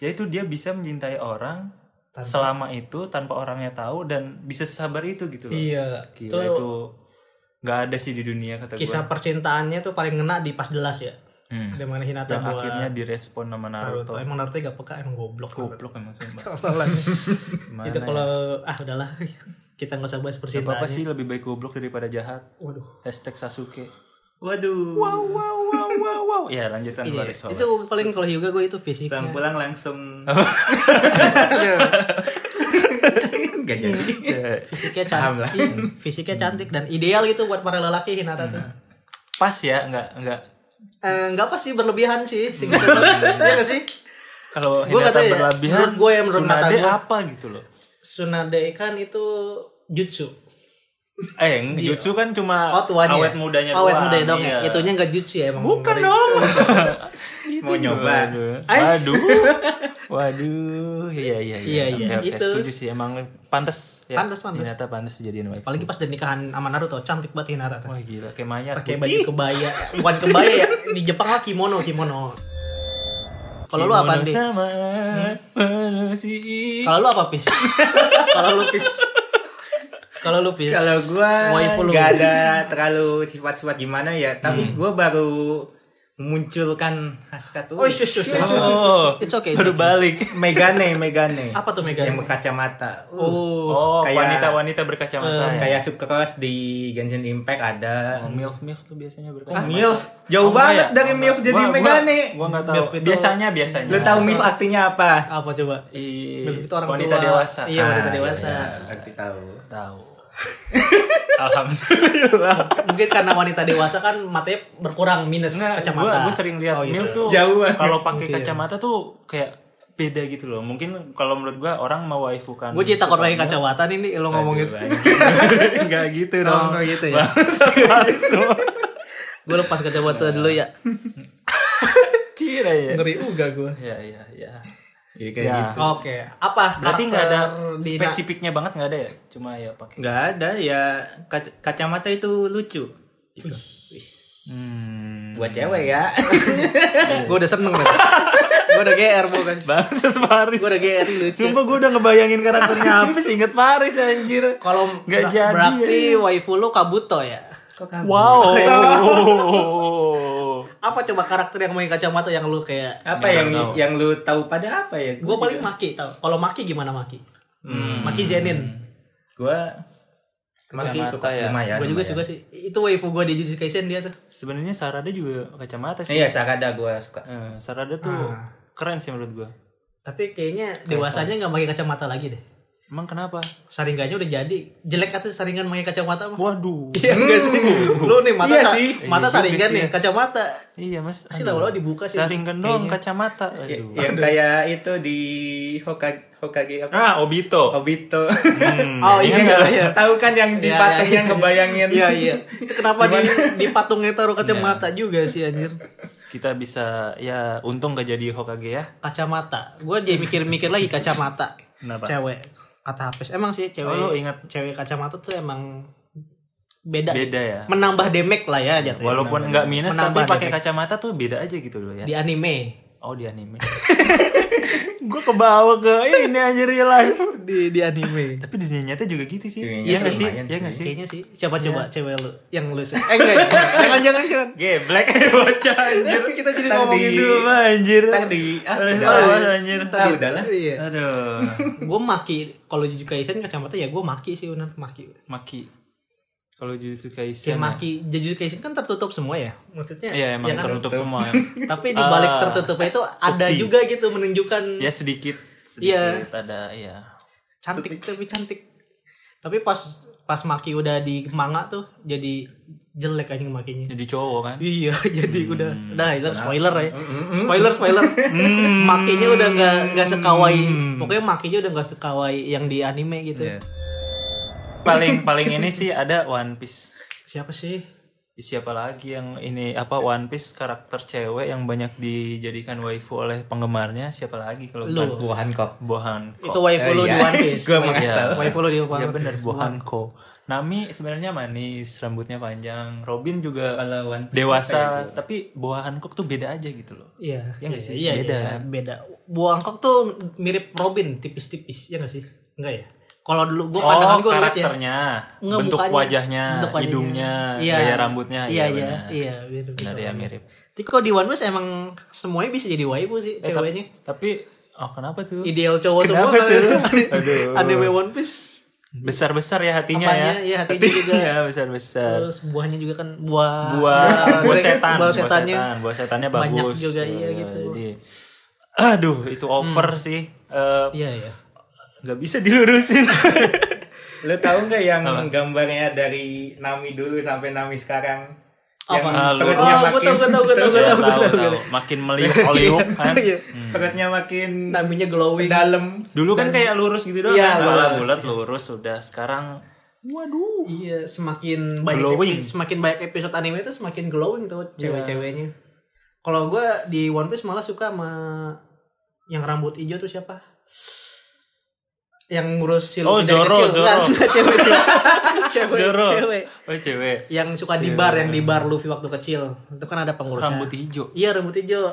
[SPEAKER 2] Yaitu dia bisa mencintai orang selama itu tanpa orangnya tahu dan bisa sesabar itu gitu loh.
[SPEAKER 1] Iya.
[SPEAKER 2] Gila,
[SPEAKER 1] Tuh
[SPEAKER 2] itu nggak ada sih di dunia kata gue.
[SPEAKER 1] kisah percintaannya tuh paling ngena di pas delas ya.
[SPEAKER 2] Hmm.
[SPEAKER 1] Dimana Hinata
[SPEAKER 2] Yang
[SPEAKER 1] buat
[SPEAKER 2] akhirnya direspon sama
[SPEAKER 1] Naruto.
[SPEAKER 2] Naruto.
[SPEAKER 1] Emang Naruto gak peka, emang goblok. [LAUGHS]
[SPEAKER 2] Goblok emang sumpah.
[SPEAKER 1] Tololan.
[SPEAKER 2] Gimana
[SPEAKER 1] itu
[SPEAKER 2] ya?
[SPEAKER 1] kalau ah udahlah [LAUGHS] kita nggak usah bahas
[SPEAKER 2] Gak apa-apa
[SPEAKER 1] percintaannya.
[SPEAKER 2] sih lebih baik goblok daripada jahat.
[SPEAKER 1] Waduh.
[SPEAKER 2] Hashtag Sasuke. Waduh. Wow wow wow wow wow. Ya lanjutan
[SPEAKER 1] Iya,
[SPEAKER 2] Baris
[SPEAKER 1] itu paling kalau Hyuga gue itu fisiknya.
[SPEAKER 3] Pulang pulang [LAUGHS] langsung. Enggak jadi.
[SPEAKER 1] fisiknya
[SPEAKER 3] Paham lah.
[SPEAKER 1] cantik Iya, fisiknya cantik dan ideal gitu buat para lelaki Hinata tuh
[SPEAKER 2] Pas ya, nggak nggak.
[SPEAKER 1] Eh, nggak apa sih berlebihan sih singkat banget. Iya nggak sih
[SPEAKER 2] Kalau
[SPEAKER 1] Gua
[SPEAKER 2] Hinata
[SPEAKER 1] kata ya,
[SPEAKER 2] berlebihan,
[SPEAKER 1] menurut gua ya, menurut mata
[SPEAKER 2] Tsunade
[SPEAKER 1] gua.
[SPEAKER 2] apa gitu loh.
[SPEAKER 1] Tsunade kan itu jutsu
[SPEAKER 2] Eh, yang Jutsu kan cuma
[SPEAKER 1] oh tuanya
[SPEAKER 2] awet mudanya
[SPEAKER 1] awet
[SPEAKER 2] doang.
[SPEAKER 1] muda dong
[SPEAKER 2] iya.
[SPEAKER 1] ya itunya nggak jutsu ya emang
[SPEAKER 2] Bukan dong.
[SPEAKER 3] Mau nyoba.
[SPEAKER 2] Waduh. Waduh. Iya iya iya.
[SPEAKER 1] Iya, iya.
[SPEAKER 2] Oke, oke,
[SPEAKER 1] Itu.
[SPEAKER 2] setuju sih emang pantas ya.
[SPEAKER 1] Pantes, pantes.
[SPEAKER 2] Hinata pantas jadian wife.
[SPEAKER 1] apalagi pas dari nikahan sama Naruto cantik banget Hinata tuh
[SPEAKER 2] Wah gila kayak mayat.
[SPEAKER 1] pakai
[SPEAKER 2] Putih.
[SPEAKER 1] baju kebaya bukan kebaya ya di Jepang lah kimono kimono kalau lu apa
[SPEAKER 2] Kimono
[SPEAKER 1] nih
[SPEAKER 2] Sama manusia.
[SPEAKER 1] kalau lu apa pis [LAUGHS] kalau lu pis kalau lu pis
[SPEAKER 3] Kalau gua
[SPEAKER 1] Waifu lu.
[SPEAKER 3] nggak ada terlalu sifat-sifat gimana ya,
[SPEAKER 2] Hmm.
[SPEAKER 3] tapi gua baru munculkan hasrat tuh.
[SPEAKER 1] Oh, shush, shush, shush.
[SPEAKER 2] Oh,
[SPEAKER 1] It's okay, it's
[SPEAKER 2] baru
[SPEAKER 1] okay.
[SPEAKER 2] balik.
[SPEAKER 3] Megane, Megane.
[SPEAKER 1] Apa tuh Megane?
[SPEAKER 3] Yang berkacamata. Uh,
[SPEAKER 1] oh
[SPEAKER 2] Oh,
[SPEAKER 3] kayak-
[SPEAKER 2] wanita-wanita berkacamata. ya.
[SPEAKER 3] Kayak Sucrose di Genshin Impact
[SPEAKER 2] Oh,
[SPEAKER 3] ada.
[SPEAKER 2] milf milf tuh biasanya
[SPEAKER 3] Ah,
[SPEAKER 2] berkacamata.
[SPEAKER 3] Milf,
[SPEAKER 2] Oh,
[SPEAKER 3] jauh banget
[SPEAKER 2] enggak ya?
[SPEAKER 3] dari
[SPEAKER 2] Oh,
[SPEAKER 3] Milf
[SPEAKER 2] enggak.
[SPEAKER 3] jadi
[SPEAKER 2] Gua-
[SPEAKER 3] Megane.
[SPEAKER 2] Gua nggak tahu.
[SPEAKER 1] Milf itu-
[SPEAKER 2] Biasanya biasanya.
[SPEAKER 3] Lu tahu Milf artinya apa?
[SPEAKER 1] apa coba
[SPEAKER 2] Ih,
[SPEAKER 1] Milf itu orang
[SPEAKER 2] wanita
[SPEAKER 1] tua.
[SPEAKER 2] dewasa.
[SPEAKER 1] Iya, wanita
[SPEAKER 3] Ah,
[SPEAKER 1] dewasa.
[SPEAKER 3] iya, Arti tahu.
[SPEAKER 2] Tahu. Alhamdulillah.
[SPEAKER 1] mungkin karena wanita dewasa kan matanya berkurang minus
[SPEAKER 2] Enggak,
[SPEAKER 1] kacamata
[SPEAKER 2] Nah, Gua, gua sering lihat
[SPEAKER 1] Oh, gitu.
[SPEAKER 2] milf tuh
[SPEAKER 3] Jauh banget.
[SPEAKER 2] kalau pakai
[SPEAKER 1] [LAUGHS]
[SPEAKER 2] kacamata tuh kayak beda gitu loh. Mungkin kalau menurut gua orang mau waifu kan.
[SPEAKER 1] Gue jadi takut pakai kacamata nih, nih lo ngomong gitu. [LAUGHS]
[SPEAKER 2] Enggak gitu dong.
[SPEAKER 1] nggak gitu ya.
[SPEAKER 2] Bangsa palsu.
[SPEAKER 1] Gue lepas kacamata dulu ya.
[SPEAKER 2] Cira ya.
[SPEAKER 1] Ngeri uga gue.
[SPEAKER 2] Ya ya ya.
[SPEAKER 3] Jadi kayak
[SPEAKER 2] Ya.
[SPEAKER 3] gitu.
[SPEAKER 1] Oke, apa?
[SPEAKER 2] Berarti nggak ada
[SPEAKER 1] karakter di [LAUGHS] Na-
[SPEAKER 2] spesifiknya banget nggak ada ya? Cuma ya pakai.
[SPEAKER 3] Nggak ada ya kac- kacamata itu lucu. Gitu.
[SPEAKER 2] Hmm.
[SPEAKER 3] Buat cewek
[SPEAKER 1] [LAUGHS]
[SPEAKER 3] ya.
[SPEAKER 1] Gue udah seneng nih. gue udah GR bukan.
[SPEAKER 2] Bangsat Paris.
[SPEAKER 1] Gue udah gitu GR lucu.
[SPEAKER 2] Sumpah gue udah ngebayangin karakternya apa sih inget Paris anjir.
[SPEAKER 1] Kalau ber-
[SPEAKER 2] Nggak jadi,
[SPEAKER 1] berarti waifu lo Kabuto ya.
[SPEAKER 3] Kok kamu?
[SPEAKER 2] Wow.
[SPEAKER 1] Apa coba karakter yang main kacamata yang lu kayak
[SPEAKER 3] Apa
[SPEAKER 2] Nggak
[SPEAKER 3] yang
[SPEAKER 2] tahu.
[SPEAKER 3] yang lu tahu pada apa ya?
[SPEAKER 1] gue paling maki tau kalau maki gimana maki
[SPEAKER 2] Hmm.
[SPEAKER 1] maki Zenin
[SPEAKER 3] gua maki
[SPEAKER 2] Kacamata
[SPEAKER 3] suka
[SPEAKER 2] ya.
[SPEAKER 3] lumayan.
[SPEAKER 1] gue juga
[SPEAKER 3] lumayan.
[SPEAKER 1] suka sih itu waifu gue di Jujutsu Kaisen dia tuh
[SPEAKER 2] Sebenarnya Sarada juga kacamata sih.
[SPEAKER 3] Iya, Sakada gua suka.
[SPEAKER 2] Eh, Sarada tuh
[SPEAKER 1] Ah.
[SPEAKER 2] keren sih menurut gue.
[SPEAKER 1] tapi kayaknya dewasanya nggak pakai kacamata lagi deh
[SPEAKER 2] Emang kenapa?
[SPEAKER 1] saringannya udah jadi jelek atau saringan pakai kacamata mah
[SPEAKER 2] Waduh.
[SPEAKER 1] iya enggak sih lu nih mata
[SPEAKER 3] Iya
[SPEAKER 1] sa-
[SPEAKER 3] sih.
[SPEAKER 1] mata
[SPEAKER 2] Hmm. Iya juga
[SPEAKER 1] saringan
[SPEAKER 2] sih
[SPEAKER 1] nih
[SPEAKER 2] ya.
[SPEAKER 1] kacamata
[SPEAKER 2] Iya mas.
[SPEAKER 1] pasti
[SPEAKER 2] Aduh.
[SPEAKER 1] lama-lama dibuka sih Iya.
[SPEAKER 2] Saringan doang kacamata.
[SPEAKER 3] Ya-
[SPEAKER 2] Aduh.
[SPEAKER 3] Yang kayak itu di Hokage, Hokage apa?
[SPEAKER 2] Ah Obito.
[SPEAKER 3] Obito. [LAUGHS]
[SPEAKER 2] Hmm.
[SPEAKER 1] oh iya iya iya
[SPEAKER 3] tahu kan yang di
[SPEAKER 1] Iya,
[SPEAKER 3] patung
[SPEAKER 1] iya.
[SPEAKER 3] yang ngebayangin.
[SPEAKER 1] iya iya itu kenapa di di patungnya taruh kacamata
[SPEAKER 2] Iya.
[SPEAKER 1] juga sih anjir
[SPEAKER 2] Kita bisa ya untung gak jadi Hokage ya.
[SPEAKER 1] kacamata gue jadi mikir-mikir lagi kacamata
[SPEAKER 2] Kenapa?
[SPEAKER 1] cewek kata habis emang sih cewek
[SPEAKER 2] Oh, lu ingat.
[SPEAKER 1] cewek kacamata tuh emang beda
[SPEAKER 2] Beda ya.
[SPEAKER 1] menambah damage lah ya jatuhnya
[SPEAKER 2] Walaupun nggak minus
[SPEAKER 1] Iya. Menambah
[SPEAKER 2] tapi pakai
[SPEAKER 1] damage.
[SPEAKER 2] kacamata tuh beda aja gitu loh ya.
[SPEAKER 1] di anime
[SPEAKER 2] Oh di anime. gue kebawa ke ini aja real life.
[SPEAKER 1] di di anime
[SPEAKER 2] Tapi dunia nyata juga gitu sih. Iya
[SPEAKER 3] Dunia nyata
[SPEAKER 2] nggak sih?
[SPEAKER 3] lumayan
[SPEAKER 2] Iya nggak sih?
[SPEAKER 1] [LAUGHS] kayaknya sih siapa coba
[SPEAKER 2] Iya.
[SPEAKER 1] cewek lu yang lu sih eh enggak [LAUGHS] jangan jangan jangan
[SPEAKER 2] Geblek bocah anjir.
[SPEAKER 1] kita jadi
[SPEAKER 3] Ntar
[SPEAKER 1] ngomongin
[SPEAKER 3] di-
[SPEAKER 2] Cuma anjir.
[SPEAKER 3] Ntar di ah,
[SPEAKER 2] Aduh,
[SPEAKER 3] udah lah.
[SPEAKER 2] anjir.
[SPEAKER 3] Ah, udahlah.
[SPEAKER 1] iya
[SPEAKER 2] Aduh.
[SPEAKER 1] gue maki kalau Jujutsu Kaisen kacamata ya gue maki sih benar maki
[SPEAKER 2] Maki. Kalau Jujutsu Kaisen.
[SPEAKER 1] Kimaki Jujutsu Kaisen kan tertutup semua ya maksudnya
[SPEAKER 2] Iya, emang
[SPEAKER 1] ya kan?
[SPEAKER 2] tertutup semua.
[SPEAKER 1] tapi di balik
[SPEAKER 2] Ah,
[SPEAKER 1] tertutupnya itu ada
[SPEAKER 2] bukti.
[SPEAKER 1] juga gitu menunjukkan
[SPEAKER 2] ya sedikit
[SPEAKER 1] Iya.
[SPEAKER 2] sedikit ada ya.
[SPEAKER 1] cantik tapi cantik tapi pas pas Maki udah di manga tuh jadi jelek anjing makinya
[SPEAKER 2] Jadi cowok kan.
[SPEAKER 1] Iya, [LAUGHS] jadi udah, udah itu spoiler ya,
[SPEAKER 2] Hmm,
[SPEAKER 1] spoiler
[SPEAKER 2] [LAUGHS]
[SPEAKER 1] spoiler. makinya udah nggak nggak sekawai, pokoknya makinya udah nggak sekawai yang di anime gitu.
[SPEAKER 2] Hmm. Iya. Paling paling ini sih ada One Piece.
[SPEAKER 1] Siapa sih?
[SPEAKER 2] Siapa lagi yang ini apa One Piece karakter cewek yang banyak dijadikan waifu oleh penggemarnya? Siapa lagi kalau bukan
[SPEAKER 1] Lu.
[SPEAKER 3] Wuhan kok.
[SPEAKER 2] Bohan?
[SPEAKER 1] Itu waifu lu di
[SPEAKER 2] Eh, iya.
[SPEAKER 1] One
[SPEAKER 2] [LAUGHS]
[SPEAKER 1] Piece. Iya.
[SPEAKER 3] Gue mengasal.
[SPEAKER 1] Waifu lu di One
[SPEAKER 2] Ya
[SPEAKER 1] Piece.
[SPEAKER 2] bener Bohanko. Nami sebenarnya manis, rambutnya panjang. Robin juga
[SPEAKER 3] Kalau One Piece
[SPEAKER 2] dewasa, tapi Bohanko tuh beda aja gitu loh.
[SPEAKER 1] Iya,
[SPEAKER 2] Iya nggak sih?
[SPEAKER 1] Iya,
[SPEAKER 2] Beda.
[SPEAKER 1] beda. beda. Buangkok tuh mirip Robin tipis-tipis, ya nggak sih? Enggak ya? Kalau dulu gua pandangan
[SPEAKER 2] Oh,
[SPEAKER 1] gua lihat ya.
[SPEAKER 2] karakternya,
[SPEAKER 1] Nggak,
[SPEAKER 2] bentuk,
[SPEAKER 1] mukanya.
[SPEAKER 2] wajahnya,
[SPEAKER 1] Bentuk wajahnya.
[SPEAKER 2] hidungnya,
[SPEAKER 1] Iya.
[SPEAKER 2] gaya rambutnya,
[SPEAKER 1] Iya,
[SPEAKER 2] iya,
[SPEAKER 1] iya,
[SPEAKER 2] benar.
[SPEAKER 1] iya, mirip.
[SPEAKER 2] Benar ya mirip.
[SPEAKER 1] Tapi kalau di One Piece emang semuanya bisa jadi waifu sih
[SPEAKER 2] Eh, tapi,
[SPEAKER 1] ceweknya.
[SPEAKER 2] tapi oh kenapa tuh?
[SPEAKER 1] ideal cowok
[SPEAKER 2] Kenapa
[SPEAKER 1] semua
[SPEAKER 2] tuh?
[SPEAKER 1] kan?
[SPEAKER 2] [LAUGHS] Aduh.
[SPEAKER 1] anime One Piece
[SPEAKER 2] Besar-besar ya hatinya
[SPEAKER 1] Apanya?
[SPEAKER 2] ya.
[SPEAKER 1] Iya, hatinya
[SPEAKER 2] [LAUGHS]
[SPEAKER 1] juga.
[SPEAKER 2] ya, besar-besar.
[SPEAKER 1] terus buahnya juga kan buah [LAUGHS] kan?
[SPEAKER 2] Buah, buah setan,
[SPEAKER 1] buah setannya
[SPEAKER 2] buah setan, buah setannya bagus.
[SPEAKER 1] Banyak juga, iya, gitu. Hmm.
[SPEAKER 2] jadi- aduh, itu over sih. Eh,
[SPEAKER 1] iya iya
[SPEAKER 2] nggak bisa
[SPEAKER 1] [LAUGHS]
[SPEAKER 2] dilurusin.
[SPEAKER 3] Lu tahu nggak yang gambarnya dari Nami dulu sampai Nami sekarang? Yang
[SPEAKER 1] Apa?
[SPEAKER 2] Ah, lu-
[SPEAKER 3] perutnya
[SPEAKER 1] oh gue
[SPEAKER 3] makin
[SPEAKER 1] tau gue tau gue tau gue
[SPEAKER 3] [LAUGHS]
[SPEAKER 2] Iya,
[SPEAKER 1] tau gue
[SPEAKER 2] tahu,
[SPEAKER 1] tau, gue
[SPEAKER 2] tahu.
[SPEAKER 1] tau.
[SPEAKER 2] Makin meliuk-liuk
[SPEAKER 1] [LAUGHS]
[SPEAKER 2] kan.
[SPEAKER 1] Iya.
[SPEAKER 3] perutnya makin
[SPEAKER 1] namanya glowing
[SPEAKER 3] dalam.
[SPEAKER 2] Dulu kan kayak lurus gitu doang.
[SPEAKER 1] Iya,
[SPEAKER 2] kan?
[SPEAKER 1] lurus.
[SPEAKER 2] Kalau bulat lurus sudah. Sekarang waduh.
[SPEAKER 1] iya semakin banyak
[SPEAKER 2] Glowing. Iya.
[SPEAKER 1] epi- semakin banyak episode anime itu semakin glowing tuh cewek-ceweknya kalau gue di One Piece malah suka sama yang rambut hijau tuh siapa yang ngurus si
[SPEAKER 2] Oh,
[SPEAKER 1] Luffy dari
[SPEAKER 2] Zoro,
[SPEAKER 1] kecil
[SPEAKER 2] Zoro.
[SPEAKER 1] Enggak, enggak, cewek
[SPEAKER 2] [LAUGHS]
[SPEAKER 1] cewek
[SPEAKER 2] Zero.
[SPEAKER 1] cewek
[SPEAKER 2] Oh, cewek.
[SPEAKER 1] yang suka di bar yang di bar Luffy waktu kecil itu kan ada pengurusnya
[SPEAKER 2] Rambut hijau.
[SPEAKER 1] iya rambut hijau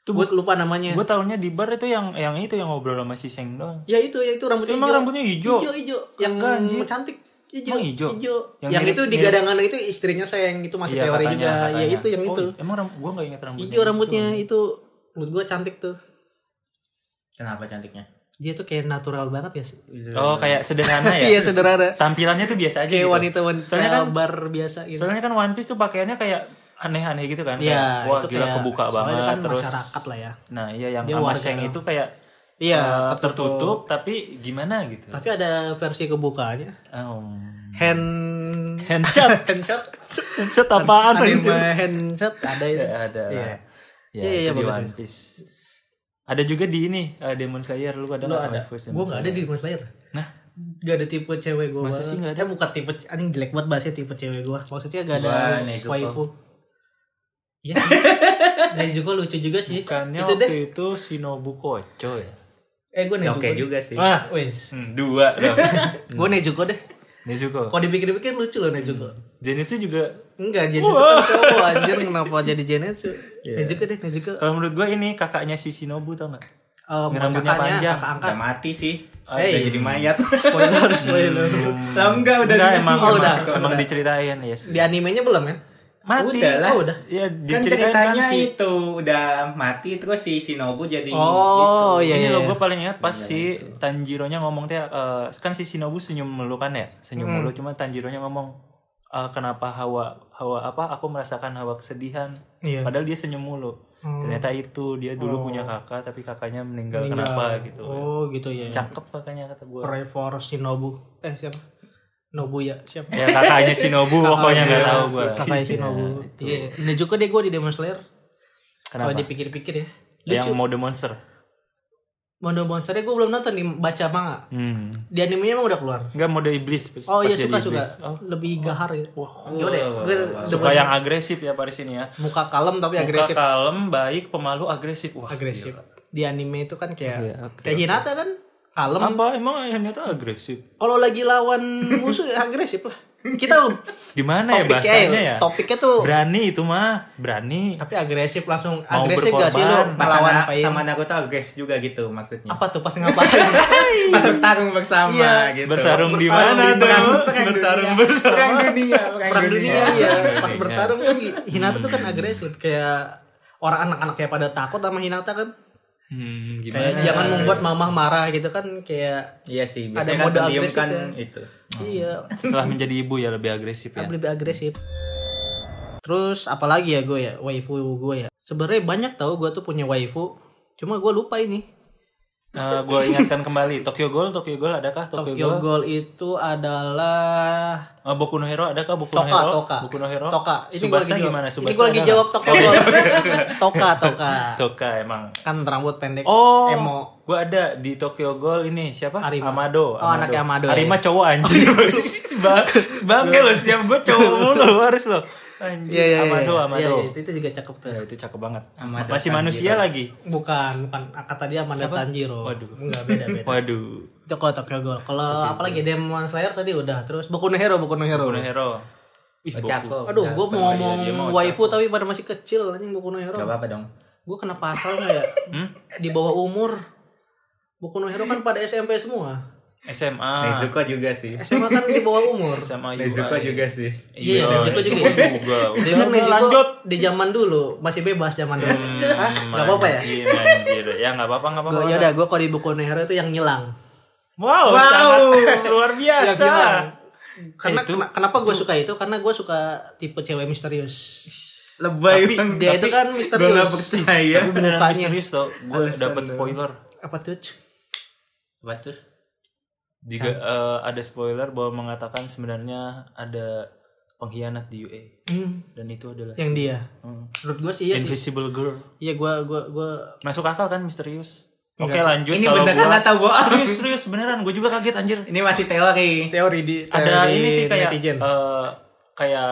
[SPEAKER 1] tuh gue lupa namanya
[SPEAKER 2] Gue tahunya di bar itu yang yang itu yang ngobrol sama si Seng doang.
[SPEAKER 1] ya itu ya itu rambut hijau
[SPEAKER 2] Emang rambutnya hijau? Ya
[SPEAKER 1] hijau hijau yang
[SPEAKER 2] Enggak, anjir.
[SPEAKER 1] cantik hijau
[SPEAKER 2] Emang hijau? Yang
[SPEAKER 1] yang,
[SPEAKER 2] mirip-
[SPEAKER 1] itu di
[SPEAKER 2] mirip- Iya,
[SPEAKER 1] gadangan itu istrinya sayang itu masih teori juga ya itu yang
[SPEAKER 2] Oh,
[SPEAKER 1] itu
[SPEAKER 2] iya,
[SPEAKER 1] Iya,
[SPEAKER 2] Emang ram- gue gak ingat rambutnya.
[SPEAKER 1] hijau rambutnya itu menurut gue cantik tuh
[SPEAKER 3] Kenapa cantiknya?
[SPEAKER 1] dia tuh kayak natural banget ya sih
[SPEAKER 2] Oh kayak sederhana ya.
[SPEAKER 1] [LAUGHS] Iya, sederhana.
[SPEAKER 2] Tampilannya tuh biasa aja.
[SPEAKER 1] kayak
[SPEAKER 2] gitu.
[SPEAKER 1] wanita wanita
[SPEAKER 2] Soalnya kan,
[SPEAKER 1] bar biasa gitu
[SPEAKER 2] soalnya kan One Piece tuh pakaiannya kayak aneh-aneh gitu kan.
[SPEAKER 1] Iya,
[SPEAKER 2] Kayak, Wah
[SPEAKER 1] itu
[SPEAKER 2] gila
[SPEAKER 1] kayak-
[SPEAKER 2] kebuka
[SPEAKER 1] soalnya
[SPEAKER 2] banget
[SPEAKER 1] kan
[SPEAKER 2] terus.
[SPEAKER 1] masyarakat lah ya.
[SPEAKER 2] Nah iya yang
[SPEAKER 1] Dia
[SPEAKER 2] sama
[SPEAKER 1] warga.
[SPEAKER 2] Seng itu kayak
[SPEAKER 1] Iya,
[SPEAKER 2] eh,
[SPEAKER 1] tertutup.
[SPEAKER 2] tertutup tapi gimana gitu.
[SPEAKER 1] tapi ada versi kebukanya [LAUGHS]
[SPEAKER 2] Um,
[SPEAKER 1] hand
[SPEAKER 2] handshot.
[SPEAKER 1] [LAUGHS] handshot
[SPEAKER 2] handshot apaan
[SPEAKER 1] anime
[SPEAKER 2] anjir?
[SPEAKER 1] handshot ada itu
[SPEAKER 2] Ya, ada.
[SPEAKER 1] Iya.
[SPEAKER 2] lah. Ya,
[SPEAKER 1] Iya,
[SPEAKER 2] itu
[SPEAKER 1] iya,
[SPEAKER 2] di
[SPEAKER 1] bagus,
[SPEAKER 2] One Piece. Ada juga di ini eh, Demon Slayer lu ada
[SPEAKER 1] Lu
[SPEAKER 2] nggak
[SPEAKER 1] ada.
[SPEAKER 2] One Piece
[SPEAKER 1] Gue
[SPEAKER 2] Demon
[SPEAKER 1] gak ada
[SPEAKER 2] Slayer?
[SPEAKER 1] di Demon Slayer.
[SPEAKER 2] Nah.
[SPEAKER 1] Gak ada tipe cewek gue.
[SPEAKER 2] Masa sih nggak ada?
[SPEAKER 1] Eh bukan tipe anjing jelek banget bahasnya tipe cewek gue. Maksudnya gak ada
[SPEAKER 3] Wah, Nezuko.
[SPEAKER 1] waifu. Iya sih.
[SPEAKER 2] [LAUGHS]
[SPEAKER 1] Nezuko lucu juga sih.
[SPEAKER 2] Bukannya
[SPEAKER 1] itu
[SPEAKER 2] waktu
[SPEAKER 1] deh.
[SPEAKER 2] itu Shinobu Kocho ya? Hmm.
[SPEAKER 1] Eh gue
[SPEAKER 3] Ya,
[SPEAKER 1] Nezuko.
[SPEAKER 3] Oke juga sih.
[SPEAKER 1] Ah.
[SPEAKER 2] Wah,
[SPEAKER 1] Wes.
[SPEAKER 2] hmm, dua [LAUGHS] dong.
[SPEAKER 1] Gue Nezuko deh.
[SPEAKER 2] Nezuko.
[SPEAKER 1] Kalau dipikir-pikir lucu loh Nezuko.
[SPEAKER 2] Hmm. Zenitsu juga
[SPEAKER 1] Enggak jadi kan cowok anjir kenapa jadi Zenitsu.
[SPEAKER 2] Iya.
[SPEAKER 1] Nezuko deh Eh, Nezuko.
[SPEAKER 2] kalau menurut gue ini kakaknya si Shinobu tau gak?
[SPEAKER 1] Eh, bukan
[SPEAKER 2] rambutnya
[SPEAKER 1] kakaknya,
[SPEAKER 2] panjang. Hmm.
[SPEAKER 1] Kakak angkat.
[SPEAKER 3] Udah mati sih.
[SPEAKER 2] Ah,
[SPEAKER 1] Eh.
[SPEAKER 2] iya.
[SPEAKER 3] Udah jadi
[SPEAKER 1] [LAUGHS]
[SPEAKER 3] mayat. Kan
[SPEAKER 1] Spoiler, spoiler.
[SPEAKER 3] Lah enggak udah
[SPEAKER 2] Enggak,
[SPEAKER 3] di-
[SPEAKER 2] emang,
[SPEAKER 1] Oh,
[SPEAKER 2] emang,
[SPEAKER 1] udah.
[SPEAKER 2] emang
[SPEAKER 1] Udah.
[SPEAKER 2] diceritain yes.
[SPEAKER 1] Di animenya belum kan?
[SPEAKER 2] Mati.
[SPEAKER 3] Udah lah.
[SPEAKER 1] Oh, udah.
[SPEAKER 2] Ya, diceritain
[SPEAKER 3] Kan
[SPEAKER 2] kan
[SPEAKER 3] ceritanya
[SPEAKER 2] si
[SPEAKER 3] itu udah mati terus si Shinobu jadi
[SPEAKER 1] Oh,
[SPEAKER 3] gitu.
[SPEAKER 1] iya
[SPEAKER 2] ini
[SPEAKER 1] iya.
[SPEAKER 2] lo gue paling ingat pas si Tanjiro nya ngomong dia eh, kan si Shinobu senyum mulu kan ya senyum mulu cuma Tanjiro nya ngomong eh, kenapa hawa hawa apa aku merasakan hawa kesedihan
[SPEAKER 1] Iya.
[SPEAKER 2] padahal dia senyum mulu ternyata itu dia dulu punya kakak tapi kakaknya meninggal, kenapa gitu
[SPEAKER 1] Oh, gitu ya.
[SPEAKER 2] cakep kakaknya kata gue
[SPEAKER 1] Pray for Shinobu. Eh siapa? Nobu ya siapa?
[SPEAKER 2] ya kakaknya Shinobu pokoknya nggak tahu gue
[SPEAKER 1] Kakaknya Shinobu. Iya. Ini juga deh gue di Demon Slayer. Kalau dipikir-pikir ya.
[SPEAKER 2] yang mode monster
[SPEAKER 1] Mondo Monsternya gue belum nonton nih baca manga.
[SPEAKER 2] hmm.
[SPEAKER 1] Di animenya emang udah keluar.
[SPEAKER 2] nggak mode iblis pas-
[SPEAKER 1] Oh
[SPEAKER 2] pas
[SPEAKER 1] iya
[SPEAKER 2] jadi
[SPEAKER 1] suka suka.
[SPEAKER 2] iblis. Oh,
[SPEAKER 1] Lebih gahar gitu.
[SPEAKER 2] Wah.
[SPEAKER 1] Yaudah, gue
[SPEAKER 2] suka yang agresif ya Paris ini ya
[SPEAKER 1] muka kalem tapi agresif.
[SPEAKER 2] Muka kalem, baik, pemalu, agresif. Wah,
[SPEAKER 1] Agresif. Di anime itu kan kayak
[SPEAKER 2] Iya, oke,
[SPEAKER 1] kayak Hinata kan kalem.
[SPEAKER 2] Apa emang ayahnya tuh agresif?
[SPEAKER 1] Kalau lagi lawan musuh ya agresif lah.
[SPEAKER 2] [LAUGHS]
[SPEAKER 1] Kita
[SPEAKER 2] Di mana ya
[SPEAKER 1] topiknya, iya.
[SPEAKER 2] bahasanya ya?
[SPEAKER 1] topiknya tuh
[SPEAKER 2] Berani itu mah, berani.
[SPEAKER 1] tapi agresif langsung
[SPEAKER 2] Mau
[SPEAKER 1] agresif gak sih
[SPEAKER 2] berkorban.
[SPEAKER 1] lo
[SPEAKER 3] Pas sama,
[SPEAKER 1] pasangan
[SPEAKER 3] sama Naruto agresif juga gitu maksudnya.
[SPEAKER 1] apa tuh pas [LAUGHS] ngapain
[SPEAKER 3] Pas bertarung
[SPEAKER 1] Ah,
[SPEAKER 3] bersama
[SPEAKER 1] Iya.
[SPEAKER 3] gitu.
[SPEAKER 2] Bertarung di
[SPEAKER 3] Pas
[SPEAKER 2] mana
[SPEAKER 3] bertarung- perang-
[SPEAKER 2] tuh?
[SPEAKER 3] perang
[SPEAKER 2] Bertarung
[SPEAKER 3] dunia.
[SPEAKER 2] bersama.
[SPEAKER 3] Perang dunia, perang,
[SPEAKER 1] perang dunia ya pas
[SPEAKER 2] Iya.
[SPEAKER 1] bertarung kan Hinata tuh kan agresif kayak orang anak-anak kayak pada takut sama Hinata kan
[SPEAKER 2] Hmm,
[SPEAKER 1] Kayak
[SPEAKER 2] gimana?
[SPEAKER 1] jangan membuat mamah marah gitu kan kayak
[SPEAKER 3] Iya
[SPEAKER 1] Ada
[SPEAKER 3] sih, biasanya kan
[SPEAKER 1] mode
[SPEAKER 3] pendiam
[SPEAKER 1] agresif
[SPEAKER 3] kan
[SPEAKER 1] ya.
[SPEAKER 3] itu.
[SPEAKER 1] iya
[SPEAKER 2] Setelah menjadi ibu ya lebih agresif ya.
[SPEAKER 1] lebih agresif. Terus apalagi ya gue ya waifu gue ya. Sebenarnya banyak tahu gue tuh punya waifu. Cuma gue lupa ini.
[SPEAKER 2] gue Eh, ingatkan kembali Tokyo Ghoul, Tokyo Ghoul adakah Tokyo,
[SPEAKER 1] Tokyo
[SPEAKER 2] Ghoul?
[SPEAKER 1] Ghoul itu adalah
[SPEAKER 2] Eh, Boku no Hero adakah Boku no
[SPEAKER 1] Toka,
[SPEAKER 2] Hero?
[SPEAKER 1] Toka.
[SPEAKER 2] Boku no Hero?
[SPEAKER 1] Toka. Ini gue lagi
[SPEAKER 2] Subasa
[SPEAKER 1] jawab.
[SPEAKER 2] gimana?
[SPEAKER 1] ini
[SPEAKER 2] Subasa
[SPEAKER 1] gue lagi
[SPEAKER 2] ada
[SPEAKER 1] jawab
[SPEAKER 2] nggak?
[SPEAKER 1] Toka Ghoul. toka, Toka.
[SPEAKER 2] [LAUGHS] Toka emang.
[SPEAKER 1] Kan rambut pendek.
[SPEAKER 2] Oh,
[SPEAKER 1] Emo.
[SPEAKER 2] gue ada di Tokyo Ghoul ini siapa?
[SPEAKER 1] Arima.
[SPEAKER 2] Amado.
[SPEAKER 1] Oh, anaknya Amado, ya.
[SPEAKER 2] Arima cowok
[SPEAKER 1] [LAUGHS]
[SPEAKER 2] anjing. [LAUGHS] Ba- Bangke lo setiap gue cowok mulu harus lo. Anjing.
[SPEAKER 1] Iya, iya, iya.
[SPEAKER 2] Amado,
[SPEAKER 1] Iya,
[SPEAKER 2] Amado.
[SPEAKER 1] iya, kan, itu, itu juga cakep tuh.
[SPEAKER 2] Ya, itu cakep banget.
[SPEAKER 3] Amado
[SPEAKER 2] Masih
[SPEAKER 3] Tanjiro.
[SPEAKER 2] manusia lagi.
[SPEAKER 1] Bukan, bukan. Kata dia Amanda Tanjiro.
[SPEAKER 2] Waduh.
[SPEAKER 1] Enggak, beda-beda.
[SPEAKER 2] Waduh.
[SPEAKER 1] [LAUGHS] itu kalau Tokyo Ghoul. Kalau apalagi Demon Slayer tadi udah. Terus Boku no Hero, Boku no Hero.
[SPEAKER 2] Boku no Hero. Ih, Boku.
[SPEAKER 3] Ocako.
[SPEAKER 1] Aduh,
[SPEAKER 3] Udah,
[SPEAKER 1] gue
[SPEAKER 3] bukan
[SPEAKER 1] mau
[SPEAKER 3] lagi.
[SPEAKER 1] ngomong
[SPEAKER 2] dia mau
[SPEAKER 1] waifu tapi pada masih kecil anjing Boku no Hero.
[SPEAKER 3] Gak apa-apa dong.
[SPEAKER 1] Gue kena pasal nggak ya? Di bawah umur. Boku no Hero kan pada SMP semua.
[SPEAKER 2] SMA.
[SPEAKER 3] Nezuko juga sih.
[SPEAKER 1] SMA kan di bawah umur.
[SPEAKER 2] SMA
[SPEAKER 3] Nezuko juga sih.
[SPEAKER 1] Iya, Nezuko juga.
[SPEAKER 2] juga.
[SPEAKER 1] Dia kan
[SPEAKER 2] Udah,
[SPEAKER 1] Nezuko
[SPEAKER 2] lanjut.
[SPEAKER 1] di zaman dulu masih bebas zaman dulu.
[SPEAKER 2] Hmm,
[SPEAKER 1] Hah? Gak apa-apa ya?
[SPEAKER 2] Anjir, anjir. Ya nggak apa-apa, nggak apa-apa.
[SPEAKER 1] Gua, ya udah, gue kalau di Boku no Hero itu yang ngilang.
[SPEAKER 2] Wow,
[SPEAKER 1] Wow. Ya,
[SPEAKER 2] sangat luar
[SPEAKER 1] Yang
[SPEAKER 2] biasa.
[SPEAKER 1] ngilang. Karena
[SPEAKER 2] Itu-
[SPEAKER 1] kena- kenapa gue suka itu? Karena gue suka tipe cewek misterius.
[SPEAKER 3] Lebay
[SPEAKER 1] Tapi dia itu kan misterius.
[SPEAKER 3] Gue gak percaya.
[SPEAKER 2] Tapi Iya, beneran
[SPEAKER 1] Mukanya.
[SPEAKER 2] misterius tau. Gue
[SPEAKER 3] Alasan
[SPEAKER 2] dapet
[SPEAKER 3] doang.
[SPEAKER 2] spoiler.
[SPEAKER 1] Apa tuh? Cuk?
[SPEAKER 3] Apa tuh?
[SPEAKER 2] Jika eh, ada spoiler bahwa mengatakan sebenarnya ada pengkhianat di UA
[SPEAKER 1] Hmm,
[SPEAKER 2] dan itu adalah
[SPEAKER 1] yang
[SPEAKER 2] si-
[SPEAKER 1] dia.
[SPEAKER 2] Hmm.
[SPEAKER 1] Menurut gue sih iya sih.
[SPEAKER 2] Invisible Girl.
[SPEAKER 1] Iya gue gue gue
[SPEAKER 2] Masuk akal kan misterius. Oke,
[SPEAKER 1] Enggak sih.
[SPEAKER 2] lanjut
[SPEAKER 3] Ini
[SPEAKER 2] kalau
[SPEAKER 3] beneran
[SPEAKER 2] gua-
[SPEAKER 3] atau bohong?
[SPEAKER 2] Serius, serius beneran. Gue juga kaget anjir.
[SPEAKER 3] Ini masih teori.
[SPEAKER 1] teori di
[SPEAKER 2] Ada
[SPEAKER 1] teori
[SPEAKER 2] ini sih kayak
[SPEAKER 1] netizen.
[SPEAKER 2] eh, kayak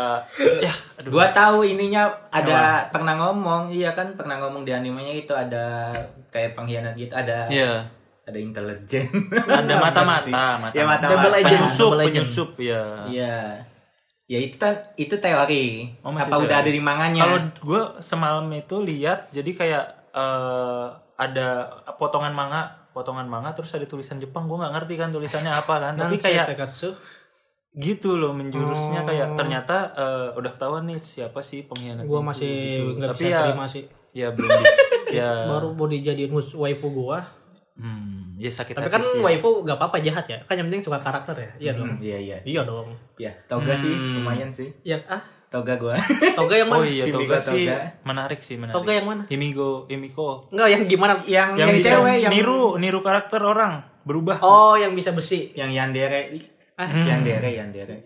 [SPEAKER 2] ya aduh.
[SPEAKER 3] Gua tahu ininya ada pernah ngomong, iya kan pernah ngomong di animenya itu ada kayak pengkhianat gitu, ada
[SPEAKER 2] Iya.
[SPEAKER 3] ada intelijen. [LAUGHS]
[SPEAKER 2] Ada mata-mata, mata.
[SPEAKER 3] Ya
[SPEAKER 1] Double
[SPEAKER 3] mata-mata.
[SPEAKER 1] agent.
[SPEAKER 2] Penyusup,
[SPEAKER 1] Double agent.
[SPEAKER 2] penyusup ya.
[SPEAKER 3] Iya. Ya itu kan itu teori.
[SPEAKER 2] Oh,
[SPEAKER 3] Apa
[SPEAKER 2] masih teori.
[SPEAKER 3] udah ada di
[SPEAKER 1] Iya.
[SPEAKER 3] manganya?
[SPEAKER 2] Kalau gue semalam itu lihat, jadi kayak eh, ada potongan manga, potongan manga, terus ada tulisan Jepang. Gue nggak ngerti kan tulisannya apa kan, tapi
[SPEAKER 1] Nansei
[SPEAKER 2] kayak
[SPEAKER 1] Takatsu.
[SPEAKER 2] gitu loh
[SPEAKER 1] Oh.
[SPEAKER 2] menjurusnya kayak ternyata eh, udah ketahuan nih siapa sih pengkhianat.
[SPEAKER 1] Gua
[SPEAKER 2] itu,
[SPEAKER 1] masih
[SPEAKER 2] gitu.
[SPEAKER 1] nggak
[SPEAKER 2] Tapi
[SPEAKER 1] bisa
[SPEAKER 2] ya,
[SPEAKER 1] terima sih.
[SPEAKER 2] Ya belum
[SPEAKER 1] [LAUGHS]
[SPEAKER 2] bisa. ya,
[SPEAKER 1] Baru mau dijadiin hus- waifu gua.
[SPEAKER 2] hmm, ya sakit
[SPEAKER 1] Tapi
[SPEAKER 2] hati
[SPEAKER 1] kan
[SPEAKER 2] sih.
[SPEAKER 1] waifu gak apa-apa jahat ya. Kan yang penting suka karakter ya. Iya dong.
[SPEAKER 3] Hmm, iya iya.
[SPEAKER 1] Iya dong.
[SPEAKER 3] Iya, toga sih
[SPEAKER 2] Hmm.
[SPEAKER 3] lumayan sih.
[SPEAKER 1] Yang ah,
[SPEAKER 3] Toga gua. [LAUGHS]
[SPEAKER 1] toga yang
[SPEAKER 2] [LAUGHS] Oh
[SPEAKER 1] mana?
[SPEAKER 2] iya,
[SPEAKER 3] Himiko
[SPEAKER 2] toga sih
[SPEAKER 3] Toga.
[SPEAKER 2] menarik sih menarik.
[SPEAKER 1] Toga yang mana?
[SPEAKER 2] Himigo, Himiko.
[SPEAKER 1] Enggak, yang gimana?
[SPEAKER 3] yang
[SPEAKER 2] Yang, bisa
[SPEAKER 3] cewek yang
[SPEAKER 2] niru, niru karakter orang berubah.
[SPEAKER 1] Oh, yang bisa besi.
[SPEAKER 3] yang yandere.
[SPEAKER 1] Ah.
[SPEAKER 2] Hmm.
[SPEAKER 3] Yandere, yandere.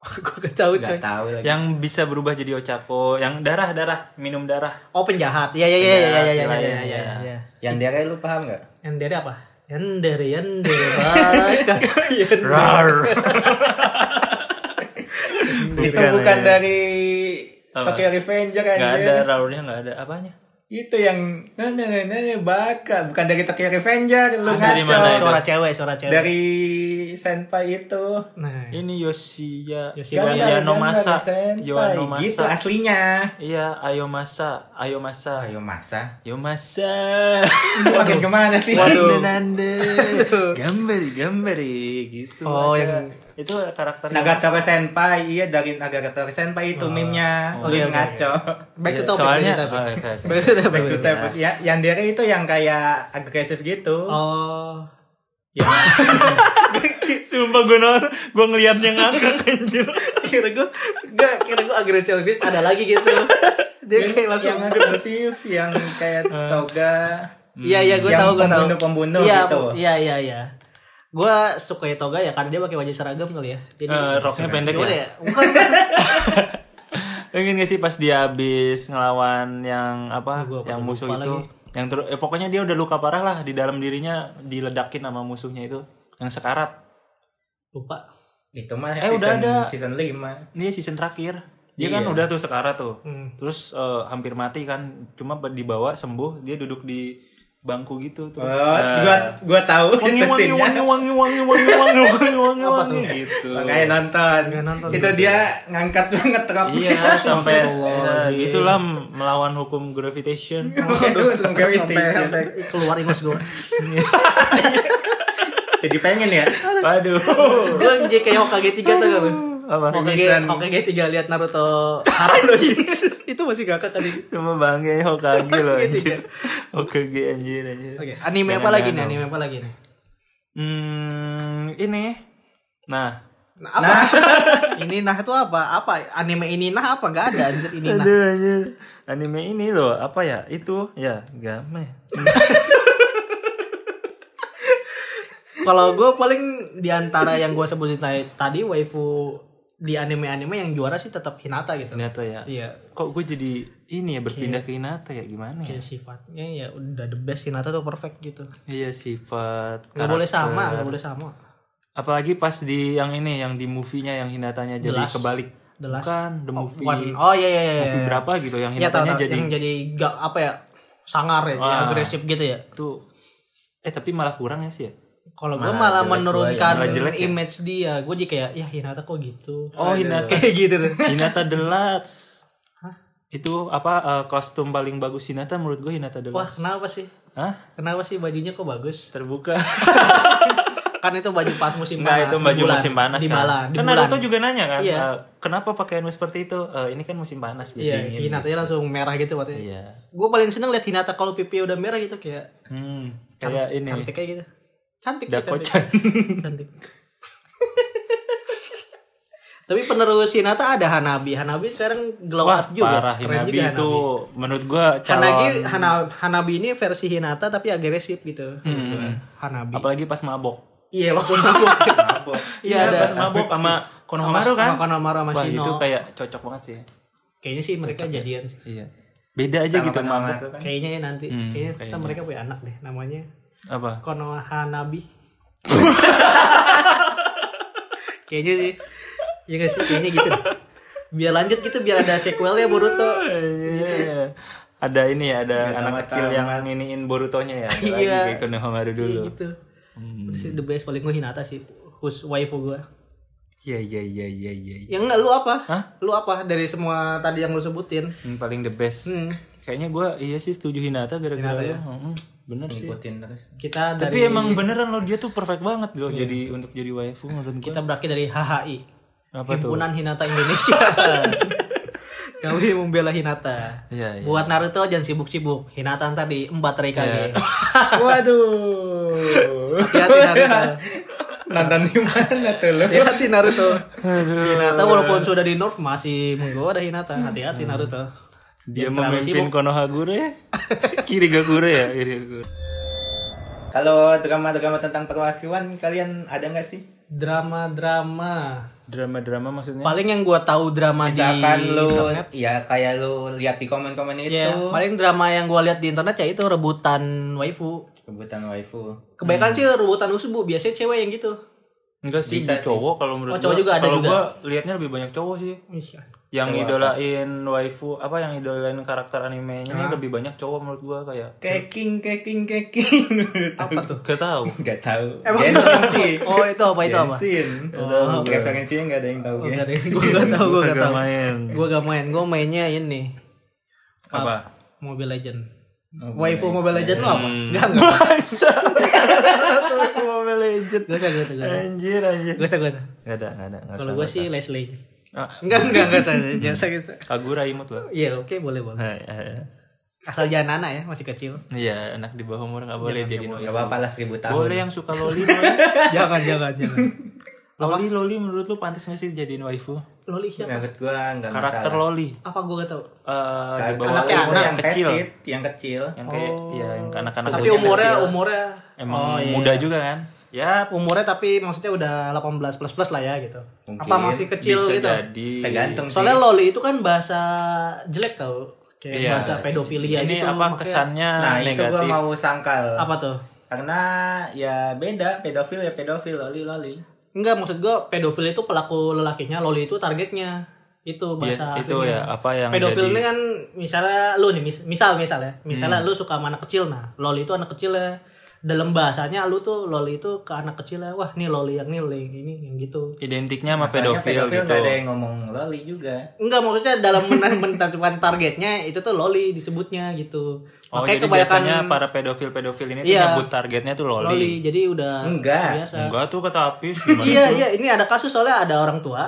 [SPEAKER 1] [LAUGHS] gua gak tahu coy.
[SPEAKER 3] Gak tahu lagi.
[SPEAKER 2] yang bisa berubah jadi Ochako, yang darah darah minum darah.
[SPEAKER 1] Oh, penjahat. Iya, iya, iya, iya, iya, iya,
[SPEAKER 2] Penjahat,
[SPEAKER 1] iya,
[SPEAKER 2] iya,
[SPEAKER 1] iya,
[SPEAKER 2] iya.
[SPEAKER 1] iya.
[SPEAKER 3] Yandere lu paham nggak?
[SPEAKER 1] Yang dari apa? Yang dari, yang dari [LAUGHS] Baraka. Yang-
[SPEAKER 2] Rar.
[SPEAKER 3] itu bukan
[SPEAKER 2] ya.
[SPEAKER 3] dari
[SPEAKER 2] Apa?
[SPEAKER 3] Tokyo Revenger
[SPEAKER 2] Nggak
[SPEAKER 3] anjir.
[SPEAKER 2] ada raurnya, nggak ada apanya.
[SPEAKER 3] Itu yang nah, nanya nanya baka bukan dari Tokyo Revenger lu
[SPEAKER 2] Terus dari
[SPEAKER 3] ngaco.
[SPEAKER 2] mana itu?
[SPEAKER 1] Suara cewek, suara cewek.
[SPEAKER 3] Dari senpai itu.
[SPEAKER 1] Nah,
[SPEAKER 2] Ini Yoshiya,
[SPEAKER 1] Yoshiya.
[SPEAKER 2] Yoan-
[SPEAKER 3] Gambar-
[SPEAKER 2] Yano
[SPEAKER 3] gambar
[SPEAKER 2] Masa,
[SPEAKER 3] senpai.
[SPEAKER 2] Yoano
[SPEAKER 3] Gitu
[SPEAKER 2] Masa.
[SPEAKER 3] aslinya.
[SPEAKER 2] Iya, Ayo Masa, Ayo Masa,
[SPEAKER 3] Ayo Ah, iya, masa.
[SPEAKER 2] Ayo Masa.
[SPEAKER 3] Itu makin kemana sih?
[SPEAKER 2] Waduh. Gambari, gambari gitu.
[SPEAKER 1] Oh,
[SPEAKER 2] ada.
[SPEAKER 1] yang-
[SPEAKER 2] itu karakter
[SPEAKER 3] Nagatoru Senpai, iya dari Nagatoru
[SPEAKER 2] Oh.
[SPEAKER 3] Senpai itu meme-nya.
[SPEAKER 1] oke,
[SPEAKER 3] Lu
[SPEAKER 1] oke,
[SPEAKER 3] ngaco.
[SPEAKER 1] back to
[SPEAKER 2] Iya,
[SPEAKER 1] topic.
[SPEAKER 2] soalnya-
[SPEAKER 1] back to topic.
[SPEAKER 2] oh, oke, oke.
[SPEAKER 1] Back to topic.
[SPEAKER 3] Back to
[SPEAKER 2] Oh,
[SPEAKER 3] topic
[SPEAKER 2] iya.
[SPEAKER 3] ya. Yang dia itu yang kayak agresif gitu.
[SPEAKER 1] Oh.
[SPEAKER 2] Sumpah gue nol, gue ngeliatnya ngakak anjir.
[SPEAKER 1] kira gue enggak kira gue agresif agresif ada lagi gitu dia kayak langsung
[SPEAKER 3] yang agresif, yang
[SPEAKER 2] [LAUGHS]
[SPEAKER 3] kayak
[SPEAKER 2] Ah.
[SPEAKER 3] toga.
[SPEAKER 1] iya iya gue
[SPEAKER 3] Yang
[SPEAKER 1] tahu gue tahu
[SPEAKER 3] pembunuh-pembunuh
[SPEAKER 1] iya,
[SPEAKER 3] gitu.
[SPEAKER 1] iya iya iya gue suka ya toga ya karena dia pakai baju seragam kali ya jadi
[SPEAKER 2] Eh, roknya pendek
[SPEAKER 1] gimana
[SPEAKER 2] ya.
[SPEAKER 1] ya bukan kan
[SPEAKER 2] Pengen gak sih pas dia habis ngelawan yang apa,
[SPEAKER 1] Gua pada
[SPEAKER 2] yang
[SPEAKER 1] lupa
[SPEAKER 2] musuh itu,
[SPEAKER 1] lagi.
[SPEAKER 2] yang ter- eh, pokoknya dia udah luka parah lah di dalam dirinya diledakin sama musuhnya itu, yang sekarat.
[SPEAKER 1] lupa
[SPEAKER 3] Itu mah
[SPEAKER 2] Eh,
[SPEAKER 3] season,
[SPEAKER 2] udah ada.
[SPEAKER 3] season 5.
[SPEAKER 2] Ini season terakhir, dia kan
[SPEAKER 3] Iya.
[SPEAKER 2] udah tuh sekarat tuh,
[SPEAKER 1] Hmm.
[SPEAKER 2] terus eh, hampir mati kan, cuma be- dibawa sembuh, dia duduk di bangku gitu terus.
[SPEAKER 3] Oh,
[SPEAKER 2] eh,
[SPEAKER 3] gua gua tahu
[SPEAKER 2] wangi
[SPEAKER 3] itu
[SPEAKER 2] wangi
[SPEAKER 3] scene-nya.
[SPEAKER 2] wangi wangi wangi wangi wangi wangi wangi wangi gitu.
[SPEAKER 3] Makanya nonton.
[SPEAKER 1] Makanya Iya, nonton.
[SPEAKER 3] Itu dia ngangkat banget
[SPEAKER 1] [LAUGHS]
[SPEAKER 3] roknya.
[SPEAKER 2] Iya
[SPEAKER 3] [LAUGHS]
[SPEAKER 2] sampai
[SPEAKER 1] Astagfirullahaladzim.
[SPEAKER 2] eh, gitulah melawan hukum
[SPEAKER 1] [LAUGHS]
[SPEAKER 2] gravitation.
[SPEAKER 3] Waduh,
[SPEAKER 1] sampai sampai keluar ingus gue
[SPEAKER 3] Jadi ya? pengen ya?
[SPEAKER 2] Waduh.
[SPEAKER 1] gue jadi kayak Hokage tiga tuh kan
[SPEAKER 2] apa
[SPEAKER 1] Oke,
[SPEAKER 3] Misan.
[SPEAKER 1] oke, tiga lihat Naruto
[SPEAKER 2] [LAUGHS]
[SPEAKER 1] Haruji. [LAUGHS] itu masih kakak tadi.
[SPEAKER 2] Cuma bangke Hokage
[SPEAKER 1] Hokage
[SPEAKER 2] loh Oh, anjir. Hokage anjir anjir.
[SPEAKER 1] Oke, anime apa lagi nih? Anime apa lagi nih?
[SPEAKER 2] Hmm, ini. Nah,
[SPEAKER 1] Nah, apa? ini nah itu apa? Apa anime ini nah apa? Gak ada anjir ini nah.
[SPEAKER 2] aduh anjir. Anime ini loh, apa ya? Itu ya, game.
[SPEAKER 1] Kalau gue paling diantara yang gue sebutin tadi- tadi waifu di anime-anime yang juara sih tetap Hinata gitu.
[SPEAKER 2] Ternyata ya.
[SPEAKER 1] Iya,
[SPEAKER 2] Kok gue jadi ini ya berpindah ke Hinata ya gimana ya?
[SPEAKER 1] kayak sifatnya ya udah the best Hinata tuh perfect gitu.
[SPEAKER 2] Iya sifat
[SPEAKER 1] Gak
[SPEAKER 2] karakter.
[SPEAKER 1] boleh sama, gak boleh sama.
[SPEAKER 2] Apalagi pas di yang ini yang di movie-nya yang Hinatanya jadi kebalik.
[SPEAKER 1] The Last
[SPEAKER 2] Bukan the movie.
[SPEAKER 1] One. Oh iya iya iya.
[SPEAKER 2] movie berapa gitu yang
[SPEAKER 1] Iya tahu
[SPEAKER 2] Hinatanya
[SPEAKER 1] tahu.
[SPEAKER 2] jadi
[SPEAKER 1] yang jadi gak apa ya? Sangar ya,
[SPEAKER 2] Wah.
[SPEAKER 1] agresif gitu ya.
[SPEAKER 2] tuh eh tapi malah kurang ya sih ya.
[SPEAKER 1] Kalau gue malah menurunkan
[SPEAKER 2] malah jelek ya.
[SPEAKER 1] image dia. Gue jadi kayak ya Hinata kok gitu.
[SPEAKER 2] Oh, Hinata. [LAUGHS]
[SPEAKER 1] Kayak gitu tuh.
[SPEAKER 2] Hinata The Last. Itu apa eh, kostum paling bagus Hinata menurut gue Hinata The
[SPEAKER 1] Wah,
[SPEAKER 2] Last.
[SPEAKER 1] kenapa sih?
[SPEAKER 2] Hah?
[SPEAKER 1] Kenapa sih bajunya kok bagus?
[SPEAKER 2] [LAUGHS] Terbuka.
[SPEAKER 1] Kan itu baju pas musim
[SPEAKER 2] Enggak
[SPEAKER 1] panas.
[SPEAKER 2] itu
[SPEAKER 1] di
[SPEAKER 2] baju
[SPEAKER 1] bulan.
[SPEAKER 2] musim panas
[SPEAKER 1] di
[SPEAKER 2] kan.
[SPEAKER 1] malah, di
[SPEAKER 2] kan
[SPEAKER 1] bulan.
[SPEAKER 2] Naruto juga nanya kan,
[SPEAKER 1] Iya.
[SPEAKER 2] eh, kenapa pakaianmu seperti itu? Eh, ini kan musim panas jadi
[SPEAKER 1] Iya,
[SPEAKER 2] dingin.
[SPEAKER 1] Hinatanya langsung merah gitu waktu
[SPEAKER 2] Iya.
[SPEAKER 1] Gue paling seneng liat Hinata kalau pipi udah merah gitu kayak
[SPEAKER 2] Hmm,
[SPEAKER 1] Kan
[SPEAKER 2] kayak ini.
[SPEAKER 1] cantik kayak gitu. Cantik dia, cantik.
[SPEAKER 2] Dakocan.
[SPEAKER 1] cantik. [LAUGHS] Tapi penerus Hinata ada Hanabi. Hanabi sekarang glow
[SPEAKER 2] Wah,
[SPEAKER 1] up juga.
[SPEAKER 2] parah
[SPEAKER 1] Keren
[SPEAKER 2] Hinabi
[SPEAKER 1] juga Kan
[SPEAKER 2] itu menurut gua
[SPEAKER 1] Hanabi.
[SPEAKER 2] calon
[SPEAKER 1] Hana- Hanabi ini versi Hinata tapi agresif gitu.
[SPEAKER 2] Hmm.
[SPEAKER 1] Hanabi.
[SPEAKER 2] apalagi pas mabok.
[SPEAKER 1] Iya, waktu
[SPEAKER 2] [LAUGHS]
[SPEAKER 1] mabuk. Iya, ada.
[SPEAKER 2] pas mabok sama Konohamaru kan.
[SPEAKER 1] Sama Konohamaru sama
[SPEAKER 2] Wah,
[SPEAKER 1] Shino.
[SPEAKER 2] itu kayak cocok banget sih.
[SPEAKER 1] Kayaknya sih mereka jadian sih.
[SPEAKER 2] Iya. Beda aja gitu mabok.
[SPEAKER 3] itu kan.
[SPEAKER 1] Kayaknya ya nanti.
[SPEAKER 2] Hmm,
[SPEAKER 1] kayaknya, kita
[SPEAKER 2] kayaknya.
[SPEAKER 1] mereka punya anak deh namanya
[SPEAKER 2] Apa? [LAUGHS]
[SPEAKER 1] Konohanabi. kayaknya sih. Iya gak sih? Kayaknya gitu. deh. Biar lanjut gitu biar ada sequelnya Boruto.
[SPEAKER 2] Iya. ada ini ya, ada anak kecil yang nginiin Borutonya ya. Ada Lagi
[SPEAKER 1] Iya.
[SPEAKER 2] kayak Konohamaru dulu.
[SPEAKER 1] Iya gitu.
[SPEAKER 2] Hmm.
[SPEAKER 1] Terus the best paling gue Hinata sih. Who's waifu gue.
[SPEAKER 2] Iya, iya, iya, iya, iya. iya.
[SPEAKER 1] Yang enggak lu apa?
[SPEAKER 2] Hah?
[SPEAKER 1] Lu apa dari semua tadi yang lu sebutin?
[SPEAKER 2] Hmm, paling the best.
[SPEAKER 1] Hmm.
[SPEAKER 2] Kayaknya gua iya sih setuju Hinata gara-gara
[SPEAKER 1] ya?
[SPEAKER 2] lo. Mm-mm, bener sih.
[SPEAKER 3] Ngikutin terus.
[SPEAKER 1] Kita dari
[SPEAKER 2] Tapi emang beneran lo dia tuh perfect banget loh
[SPEAKER 1] Iya.
[SPEAKER 2] jadi untuk jadi waifu menurut gua.
[SPEAKER 1] kita berakhir dari HHI.
[SPEAKER 2] Apa tuh?
[SPEAKER 1] Himpunan Hinata
[SPEAKER 2] [LAUGHS]
[SPEAKER 1] Indonesia. Kami membela Hinata.
[SPEAKER 2] Iya, iya.
[SPEAKER 1] Buat Naruto jangan sibuk-sibuk. Hinata ntar di empat Reikage.
[SPEAKER 3] Waduh.
[SPEAKER 1] [LAUGHS] Hati-hati Naruto.
[SPEAKER 3] Nonton di mana tuh lo?
[SPEAKER 2] Iya.
[SPEAKER 1] Hati-hati Naruto. Hinata walaupun sudah di North masih menggoda Hinata. Hati-hati Naruto.
[SPEAKER 2] Dia
[SPEAKER 1] Jangan terlalu
[SPEAKER 2] memimpin
[SPEAKER 1] [LAUGHS]
[SPEAKER 2] Konohagure, Kirigakure ya, Kirigakure.
[SPEAKER 3] Kalau drama-drama tentang perwafiwan kalian ada nggak sih?
[SPEAKER 1] Drama-drama.
[SPEAKER 2] Drama-drama maksudnya.
[SPEAKER 1] Paling yang gua tahu drama di
[SPEAKER 3] Misalkan lu
[SPEAKER 1] internet.
[SPEAKER 3] ya kayak lu lihat di komen-komen itu
[SPEAKER 1] Ya, paling drama yang gua lihat di internet ya itu rebutan waifu.
[SPEAKER 3] kebutuhan waifu.
[SPEAKER 1] Kebanyakan sih rebutan usbu, biasanya cewek yang gitu.
[SPEAKER 2] Enggak sih, di cowok kalau menurut
[SPEAKER 1] Oh, cowok juga ada
[SPEAKER 2] kalau
[SPEAKER 1] juga.
[SPEAKER 2] gua liatnya lebih banyak cowok sih. Yang idolain waifu apa yang idolain karakter animenya ini lebih banyak cowok menurut gua kayak
[SPEAKER 3] Keking, keking, keking.
[SPEAKER 1] Apa
[SPEAKER 3] [LAUGHS]
[SPEAKER 1] tuh?
[SPEAKER 2] gak tahu.
[SPEAKER 3] Gak tahu. Genshin sih.
[SPEAKER 1] [LAUGHS] Oh, itu apa itu apa?
[SPEAKER 3] Genshin. Oh, referensinya Oh, nggak ada yang tahu.
[SPEAKER 1] Gue
[SPEAKER 3] Gen.
[SPEAKER 1] gak tau, gue gak
[SPEAKER 2] Kagak
[SPEAKER 1] tau
[SPEAKER 2] main.
[SPEAKER 1] Gue gak main, gue mainnya ini
[SPEAKER 2] Apa?
[SPEAKER 1] Mobile Legend Waifu Mobile Legend lo apa?
[SPEAKER 2] Hmm.
[SPEAKER 1] Gak, gak
[SPEAKER 2] Masa? Aku Mobile Legend.
[SPEAKER 1] Gak usah, gak usah, gak usah
[SPEAKER 2] Anjir anjir.
[SPEAKER 1] Gak usah, gak usah
[SPEAKER 2] Gak ada, gak ada, gak
[SPEAKER 1] Kalau
[SPEAKER 2] usah.
[SPEAKER 1] gue sih Leslie
[SPEAKER 2] Ah.
[SPEAKER 1] Enggak, enggak, enggak usah Gak usah, gak usah
[SPEAKER 2] Kagura imut loh.
[SPEAKER 1] Iya, oke, boleh, boleh
[SPEAKER 2] Hai, hai.
[SPEAKER 1] Asal jangan anak ya, masih kecil
[SPEAKER 2] Iya, anak di bawah umur nggak boleh jadi
[SPEAKER 3] Gak apa-apa lah seribu tahun.
[SPEAKER 2] Boleh yang suka loli, loli.
[SPEAKER 1] Jangan, jangan, jangan
[SPEAKER 2] loli, loli menurut lu pantas nggak sih jadiin waifu?
[SPEAKER 1] Loli siapa?
[SPEAKER 3] Menurut gua nggak masalah.
[SPEAKER 2] Karakter loli.
[SPEAKER 1] Apa gue gak tau?
[SPEAKER 2] Eh, di
[SPEAKER 3] Karakter
[SPEAKER 2] bawah
[SPEAKER 3] loli
[SPEAKER 2] umur
[SPEAKER 3] itu
[SPEAKER 2] yang kecil.
[SPEAKER 3] petit, yang kecil.
[SPEAKER 2] Yang kayak, ya yang anak-anak
[SPEAKER 1] Tapi
[SPEAKER 2] kecil.
[SPEAKER 1] umurnya, umurnya
[SPEAKER 2] Emang muda juga kan? Ya,
[SPEAKER 1] Umurnya tapi maksudnya udah 18 plus plus lah ya gitu Apa
[SPEAKER 3] Mungkin
[SPEAKER 1] masih kecil
[SPEAKER 2] bisa
[SPEAKER 1] gitu?
[SPEAKER 2] jadi.
[SPEAKER 3] Tergantung sih.
[SPEAKER 1] Soalnya loli itu kan bahasa jelek tau kayak
[SPEAKER 2] Iya.
[SPEAKER 1] bahasa pedofilia
[SPEAKER 2] Ini
[SPEAKER 1] gitu.
[SPEAKER 2] apa
[SPEAKER 1] makanya-
[SPEAKER 2] kesannya
[SPEAKER 3] Nah, itu
[SPEAKER 2] negatif?
[SPEAKER 3] gua mau sangkal.
[SPEAKER 1] Apa tuh?
[SPEAKER 3] Karena ya beda, pedofil ya pedofil, loli loli.
[SPEAKER 1] Enggak maksud gue pedofil itu pelaku lelakinya, loli itu targetnya. Itu
[SPEAKER 2] Ya,
[SPEAKER 1] bahasa
[SPEAKER 2] itu
[SPEAKER 1] aslinya.
[SPEAKER 2] ya apa yang
[SPEAKER 1] Pedofil
[SPEAKER 2] jadi Hmm.
[SPEAKER 1] ini kan misalnya lu nih mis- misal misal ya. Misalnya lu suka sama anak kecil nah, loli itu anak kecil ya. Dalam bahasanya lu tuh loli itu ke anak kecil ya. Wah, nih loli yang ini, loli yang ini, yang gitu.
[SPEAKER 2] identiknya sama
[SPEAKER 3] Soalnya
[SPEAKER 2] pedofil,
[SPEAKER 3] pedofil
[SPEAKER 2] gitu.
[SPEAKER 3] nggak ada yang ngomong loli juga.
[SPEAKER 1] Enggak maksudnya dalam [LAUGHS] men- menentukan targetnya itu tuh loli disebutnya gitu.
[SPEAKER 2] Oh, jadi biasanya para pedofil-pedofil ini tuh
[SPEAKER 1] Iya.
[SPEAKER 2] nyebut targetnya tuh loli.
[SPEAKER 1] loli. Jadi udah
[SPEAKER 3] Enggak.
[SPEAKER 1] biasa.
[SPEAKER 2] Enggak tuh kata Apis gimana?
[SPEAKER 1] Iya iya ini ada kasus soalnya ada orang tua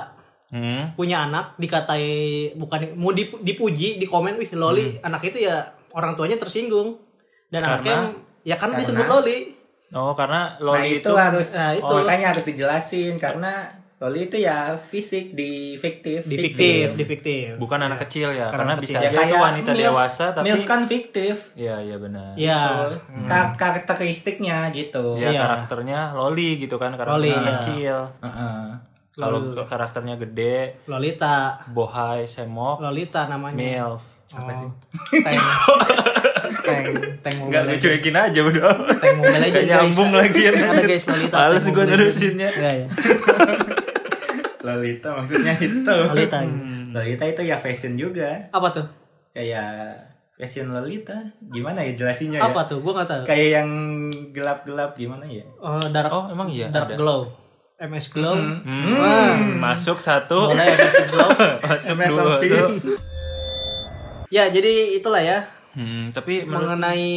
[SPEAKER 2] Hmm.
[SPEAKER 1] punya anak dikatai bukan mau dipu- dipuji di komen wih loli
[SPEAKER 2] Hmm.
[SPEAKER 1] anak itu ya orang tuanya tersinggung dan
[SPEAKER 2] Karena-
[SPEAKER 1] anaknya ya karena,
[SPEAKER 3] Karena-
[SPEAKER 1] disebut loli
[SPEAKER 2] Oh, karena
[SPEAKER 3] Nah
[SPEAKER 2] loli
[SPEAKER 3] itu,
[SPEAKER 2] itu,
[SPEAKER 3] harus Oh,
[SPEAKER 1] nah, itu.
[SPEAKER 3] makanya harus dijelasin karena loli itu ya fisik di fiktif.
[SPEAKER 1] di fiktif di fiktif
[SPEAKER 2] Iya. bukan anak kecil ya, karena,
[SPEAKER 1] Karena
[SPEAKER 2] bisa
[SPEAKER 1] kecil.
[SPEAKER 2] aja itu wanita
[SPEAKER 3] milf.
[SPEAKER 2] dewasa tapi
[SPEAKER 3] milf kan fiktif.
[SPEAKER 2] Iya, iya benar. Iya,
[SPEAKER 1] ya
[SPEAKER 3] Tuh. Kar- karakteristiknya gitu.
[SPEAKER 2] Ya.
[SPEAKER 1] Iya.
[SPEAKER 2] karakternya loli gitu kan, karena
[SPEAKER 1] Loli,
[SPEAKER 2] anak
[SPEAKER 1] iya.
[SPEAKER 2] kecil.
[SPEAKER 3] Heeh.
[SPEAKER 2] Kalau ke- karakternya gede,
[SPEAKER 1] lolita
[SPEAKER 2] bohai, semok,
[SPEAKER 1] lolita namanya Oh.
[SPEAKER 2] milf.
[SPEAKER 1] apa sih tank tank tank
[SPEAKER 2] Enggak
[SPEAKER 1] mobile
[SPEAKER 2] cuekin aja udah.
[SPEAKER 1] tank mobile aja
[SPEAKER 2] Nggak nyambung lagi ya.
[SPEAKER 1] ada guys lolita
[SPEAKER 2] Males
[SPEAKER 1] Tank
[SPEAKER 2] gua
[SPEAKER 1] Mobile Legends.
[SPEAKER 2] nerusinnya.
[SPEAKER 1] Iya, iya.
[SPEAKER 3] Lolita maksudnya itu.
[SPEAKER 1] lolita
[SPEAKER 3] Lolita itu ya fashion juga.
[SPEAKER 1] apa tuh
[SPEAKER 3] Kayak fashion Lolita. Gimana ya
[SPEAKER 2] Iya,
[SPEAKER 3] jelasinnya ya?
[SPEAKER 1] apa tuh gua nggak tahu
[SPEAKER 3] Kayak yang gelap-gelap gimana ya?
[SPEAKER 1] Eh, dark
[SPEAKER 2] Oh, emang iya.
[SPEAKER 1] dark
[SPEAKER 2] ada.
[SPEAKER 1] glow ms glow
[SPEAKER 2] Hmm, Masuk satu,
[SPEAKER 1] mulai MS glow
[SPEAKER 2] masuk
[SPEAKER 3] MS
[SPEAKER 2] dua tuh.
[SPEAKER 3] Office.
[SPEAKER 1] ya jadi itulah ya
[SPEAKER 2] Hmm, tapi menurut
[SPEAKER 1] mengenai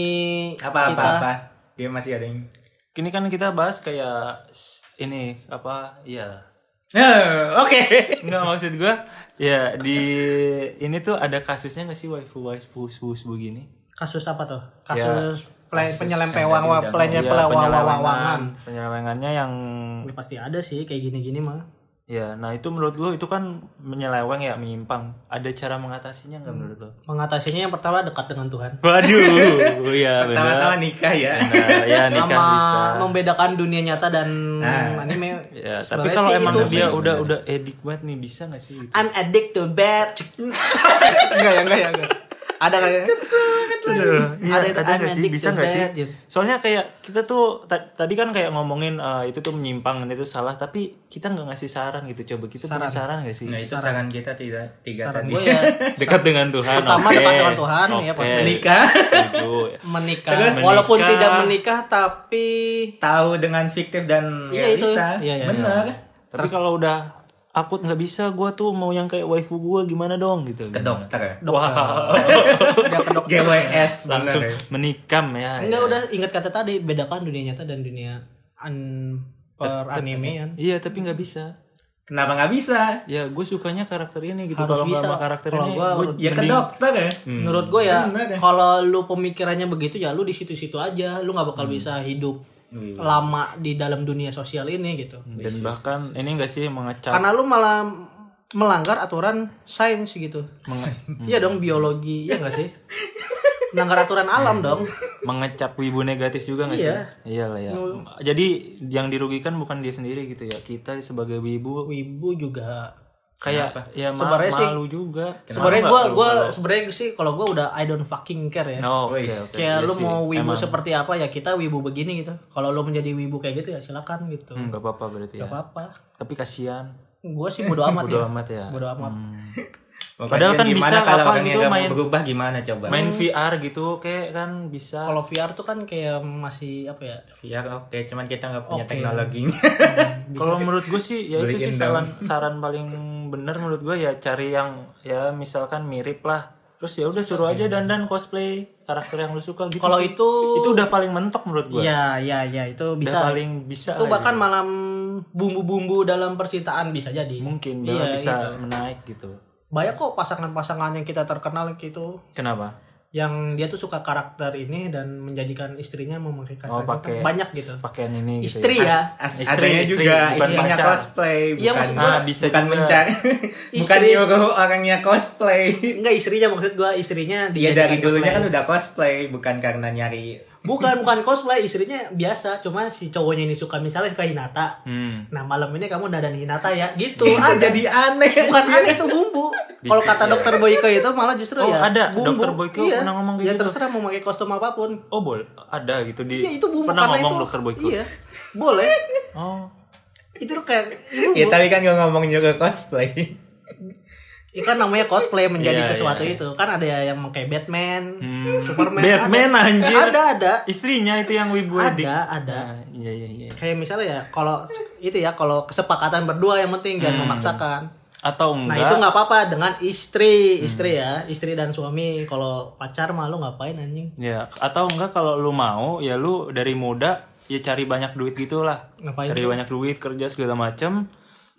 [SPEAKER 3] Apa-apa
[SPEAKER 1] kita- [LAUGHS]
[SPEAKER 3] apa. Dia masih ada yang
[SPEAKER 2] Kini kan kita bahas kayak s- ini apa ya
[SPEAKER 3] Eh, Oke.
[SPEAKER 2] Enggak maksud gua ya di ini tuh ada kasusnya nggak sih waifu waifu waifu begini
[SPEAKER 1] kasus apa tuh
[SPEAKER 2] Ya,
[SPEAKER 1] kasus, play,
[SPEAKER 3] yang
[SPEAKER 1] penyelempewang
[SPEAKER 3] tadi
[SPEAKER 1] pelenye
[SPEAKER 2] Ya,
[SPEAKER 1] pelawawangan
[SPEAKER 2] penyelewengannya yang
[SPEAKER 1] pasti ada sih kayak gini-gini mah
[SPEAKER 2] ya nah itu menurut lo itu kan menyeleweng ya menyimpang ada cara mengatasinya
[SPEAKER 1] Hmm.
[SPEAKER 2] nggak menurut lo
[SPEAKER 1] mengatasinya yang pertama dekat dengan Tuhan [LAUGHS]
[SPEAKER 2] waduh ya
[SPEAKER 3] Pertama-tama
[SPEAKER 2] benar
[SPEAKER 3] nikah ya.
[SPEAKER 2] Nah, ya nikah
[SPEAKER 1] sama
[SPEAKER 2] bisa
[SPEAKER 1] membedakan dunia nyata dan
[SPEAKER 3] Nah.
[SPEAKER 1] anime
[SPEAKER 2] [LAUGHS] ya
[SPEAKER 1] Sebenarnya
[SPEAKER 2] tapi kalau
[SPEAKER 1] sih
[SPEAKER 2] emang
[SPEAKER 1] itu
[SPEAKER 2] dia udah udah edik banget nih bisa nggak sih gitu?
[SPEAKER 1] I'm addicted to bed [LAUGHS] enggak ya enggak ya enggak ada nggak ya
[SPEAKER 2] Aduh, iya,
[SPEAKER 1] Ada-
[SPEAKER 2] ada
[SPEAKER 1] ada
[SPEAKER 2] nggak sih
[SPEAKER 1] mendik
[SPEAKER 2] bisa
[SPEAKER 1] tuh,
[SPEAKER 2] nggak sih
[SPEAKER 1] Dad, gitu.
[SPEAKER 2] soalnya kayak kita tuh ta- tadi kan kayak ngomongin eh, itu tuh menyimpang dan itu salah tapi kita nggak ngasih saran gitu coba kita punya saran nggak sih
[SPEAKER 3] Nah itu saran kita tiga tiga
[SPEAKER 1] saran
[SPEAKER 3] tadi.
[SPEAKER 1] gue
[SPEAKER 2] [LAUGHS]
[SPEAKER 1] ya
[SPEAKER 2] dekat dengan Tuhan
[SPEAKER 1] Pertama,
[SPEAKER 2] oke.
[SPEAKER 1] dekat dengan Tuhan, ya,
[SPEAKER 2] Oke, Gitu, ya.
[SPEAKER 1] pasti.
[SPEAKER 3] Nikah
[SPEAKER 2] setuju.
[SPEAKER 1] [LAUGHS] menikah
[SPEAKER 3] Terus
[SPEAKER 1] walaupun
[SPEAKER 2] menikah.
[SPEAKER 1] tidak menikah tapi
[SPEAKER 3] [LAUGHS] tahu dengan fiktif dan
[SPEAKER 1] Iya, itu.
[SPEAKER 3] realita.
[SPEAKER 1] Iya, iya,
[SPEAKER 3] Bener.
[SPEAKER 2] tapi kalau udah aku nggak bisa gue tuh mau yang kayak waifu gue gimana dong gitu
[SPEAKER 3] Ke dokter. ya?
[SPEAKER 2] Wah,
[SPEAKER 1] [LAUGHS] udah ke dokter
[SPEAKER 3] GWS bener.
[SPEAKER 2] langsung
[SPEAKER 3] ya.
[SPEAKER 2] menikam ya
[SPEAKER 1] enggak udah ingat kata tadi bedakan dunia nyata dan dunia an per anime kan.
[SPEAKER 2] iya tapi nggak bisa
[SPEAKER 3] Kenapa nggak bisa?
[SPEAKER 2] ya gue sukanya karakter ini gitu
[SPEAKER 1] Harus
[SPEAKER 2] kalau nggak
[SPEAKER 1] bisa.
[SPEAKER 2] sama karakter
[SPEAKER 1] Kalau
[SPEAKER 2] ini
[SPEAKER 1] gua
[SPEAKER 2] gua hmm.
[SPEAKER 3] Ya ke
[SPEAKER 2] mending-
[SPEAKER 3] dokter ya.
[SPEAKER 1] menurut gue ya
[SPEAKER 3] Bener ya.
[SPEAKER 1] kalau lu pemikirannya begitu ya lu di situ-situ aja lu nggak
[SPEAKER 2] Hmm.
[SPEAKER 1] bakal bisa hidup
[SPEAKER 2] Iya.
[SPEAKER 1] lama di dalam dunia sosial ini gitu
[SPEAKER 2] dan bahkan ini nggak sih mengecap
[SPEAKER 1] karena lu malah melanggar aturan sains gitu [LAUGHS] iya dong biologi iya
[SPEAKER 2] [LAUGHS]
[SPEAKER 1] nggak sih melanggar aturan alam dong
[SPEAKER 2] mengecap wibu negatif juga nggak
[SPEAKER 1] Iya.
[SPEAKER 2] sih? Iya lah ya. Jadi yang dirugikan bukan dia sendiri gitu ya. Kita sebagai wibu
[SPEAKER 1] wibu juga
[SPEAKER 2] kayak ya ma-
[SPEAKER 1] Sebenarnya sih-
[SPEAKER 2] malu juga.
[SPEAKER 1] sebenarnya gue gue sebenarnya sih kalau gue udah I don't fucking care ya
[SPEAKER 2] No, oke
[SPEAKER 3] Wis.
[SPEAKER 2] oke.
[SPEAKER 1] kayak
[SPEAKER 2] Iya
[SPEAKER 1] lu
[SPEAKER 2] sih.
[SPEAKER 1] mau wibu seperti apa ya kita wibu begini gitu kalau lu menjadi wibu kayak gitu ya silakan gitu
[SPEAKER 2] Hmm, nggak apa-apa berarti
[SPEAKER 1] Gak
[SPEAKER 2] ya.
[SPEAKER 1] apa-apa
[SPEAKER 2] Tapi kasihan.
[SPEAKER 1] gue sih bodo amat
[SPEAKER 2] Bodo
[SPEAKER 1] ya
[SPEAKER 2] amat ya.
[SPEAKER 1] bodo amat
[SPEAKER 3] Mau
[SPEAKER 2] Padahal
[SPEAKER 3] kasihan
[SPEAKER 2] kan
[SPEAKER 3] gimana
[SPEAKER 2] bisa
[SPEAKER 3] kalau
[SPEAKER 2] apa
[SPEAKER 3] orangnya
[SPEAKER 2] gitu
[SPEAKER 3] nggak mau
[SPEAKER 2] main-
[SPEAKER 3] berubah gimana coba?
[SPEAKER 2] Main VR gitu kayak kan bisa.
[SPEAKER 1] kalau VR tuh kan kayak masih apa ya
[SPEAKER 3] Ya oke, cuman kita nggak punya
[SPEAKER 1] Oke.
[SPEAKER 3] teknologinya.
[SPEAKER 2] Kalau menurut gue sih ya itu
[SPEAKER 3] Beliin
[SPEAKER 2] sih
[SPEAKER 3] dong.
[SPEAKER 2] saran saran paling bener menurut gue ya cari yang ya misalkan mirip lah. Terus ya udah suruh aja dandan cosplay karakter yang lu suka gitu.
[SPEAKER 1] kalau
[SPEAKER 2] sih.
[SPEAKER 1] itu
[SPEAKER 2] itu udah paling mentok menurut gue.
[SPEAKER 1] ya ya ya itu bisa
[SPEAKER 2] bisa paling bisa
[SPEAKER 1] itu
[SPEAKER 2] lah
[SPEAKER 1] bahkan
[SPEAKER 2] gitu.
[SPEAKER 1] malam bumbu-bumbu dalam percintaan bisa jadi
[SPEAKER 2] mungkin dia
[SPEAKER 1] iya,
[SPEAKER 2] bisa
[SPEAKER 1] gitu.
[SPEAKER 2] menaik gitu
[SPEAKER 1] banyak kok pasangan-pasangan yang kita terkenal gitu
[SPEAKER 2] kenapa
[SPEAKER 1] yang dia tuh suka karakter ini dan menjadikan istrinya memakai karakter
[SPEAKER 2] oh
[SPEAKER 1] itu.
[SPEAKER 2] pakai
[SPEAKER 1] banyak gitu
[SPEAKER 2] pakaian ini gitu
[SPEAKER 1] istri
[SPEAKER 3] [LAUGHS]
[SPEAKER 2] ya.
[SPEAKER 1] ya
[SPEAKER 3] As-
[SPEAKER 2] Istri,
[SPEAKER 3] adanya
[SPEAKER 2] istri,
[SPEAKER 3] juga
[SPEAKER 2] bukan
[SPEAKER 3] istrinya
[SPEAKER 2] pacar.
[SPEAKER 3] cosplay,
[SPEAKER 1] Iya,
[SPEAKER 3] bukan
[SPEAKER 1] maksud gua-
[SPEAKER 2] Ah, bisa
[SPEAKER 3] bukan
[SPEAKER 2] juga.
[SPEAKER 3] mencari, bukan
[SPEAKER 1] [LAUGHS] Istri. Iya,
[SPEAKER 3] nyuruh orangnya cosplay.
[SPEAKER 1] enggak istrinya maksud gua istrinya
[SPEAKER 3] Iya
[SPEAKER 1] dia
[SPEAKER 3] dari dulunya kan udah cosplay, bukan karena nyari.
[SPEAKER 1] bukan bukan cosplay istrinya biasa cuma si cowoknya ini suka misalnya suka Hinata
[SPEAKER 2] hmm.
[SPEAKER 1] nah malam ini kamu dadan Hinata ya gitu
[SPEAKER 3] Itu
[SPEAKER 1] ada
[SPEAKER 3] jadi aneh.
[SPEAKER 1] [LAUGHS] bukan aneh itu bumbu kalau
[SPEAKER 2] Bisnis
[SPEAKER 1] kata
[SPEAKER 2] ya.
[SPEAKER 1] dokter Boyko itu malah justru
[SPEAKER 2] Oh,
[SPEAKER 1] ya
[SPEAKER 2] ada.
[SPEAKER 1] bumbu
[SPEAKER 2] Dr. Boyko pernah ngomong kayak
[SPEAKER 1] ya
[SPEAKER 2] gitu.
[SPEAKER 1] terserah mau pakai kostum apapun
[SPEAKER 2] oh boleh ada gitu di
[SPEAKER 1] Iya itu bumbu
[SPEAKER 2] pernah
[SPEAKER 1] karena
[SPEAKER 2] ngomong
[SPEAKER 1] itu,
[SPEAKER 2] dokter Boyko
[SPEAKER 1] Iya. Boleh.
[SPEAKER 2] oh
[SPEAKER 1] itu tuh kayak
[SPEAKER 2] Iya.
[SPEAKER 3] Ya tapi kan gak ngomong nyuruh cosplay.
[SPEAKER 1] itu kan namanya cosplay menjadi
[SPEAKER 2] Iya,
[SPEAKER 1] sesuatu
[SPEAKER 2] iya, iya.
[SPEAKER 1] itu. Kan ada yang pakai Batman,
[SPEAKER 2] Hmm.
[SPEAKER 1] Superman.
[SPEAKER 2] Batman,
[SPEAKER 1] ada. Eh,
[SPEAKER 2] anjir.
[SPEAKER 1] Ada ada.
[SPEAKER 2] istrinya itu yang wibu edik.
[SPEAKER 1] Ada, ada.
[SPEAKER 2] Ah, iya iya iya
[SPEAKER 1] Kayak misalnya ya kalau itu ya kalau kesepakatan berdua yang penting jangan
[SPEAKER 2] Hmm.
[SPEAKER 1] memaksakan.
[SPEAKER 2] atau
[SPEAKER 1] Nah,
[SPEAKER 2] enggak
[SPEAKER 1] itu nggak apa-apa dengan istri, istri ya, istri dan suami. Kalau pacar mah lu ngapain anjing?
[SPEAKER 2] ya atau enggak kalau lu mau ya lu dari muda ya cari banyak duit gitulah
[SPEAKER 1] Ngapain?
[SPEAKER 2] cari banyak duit kerja segala macem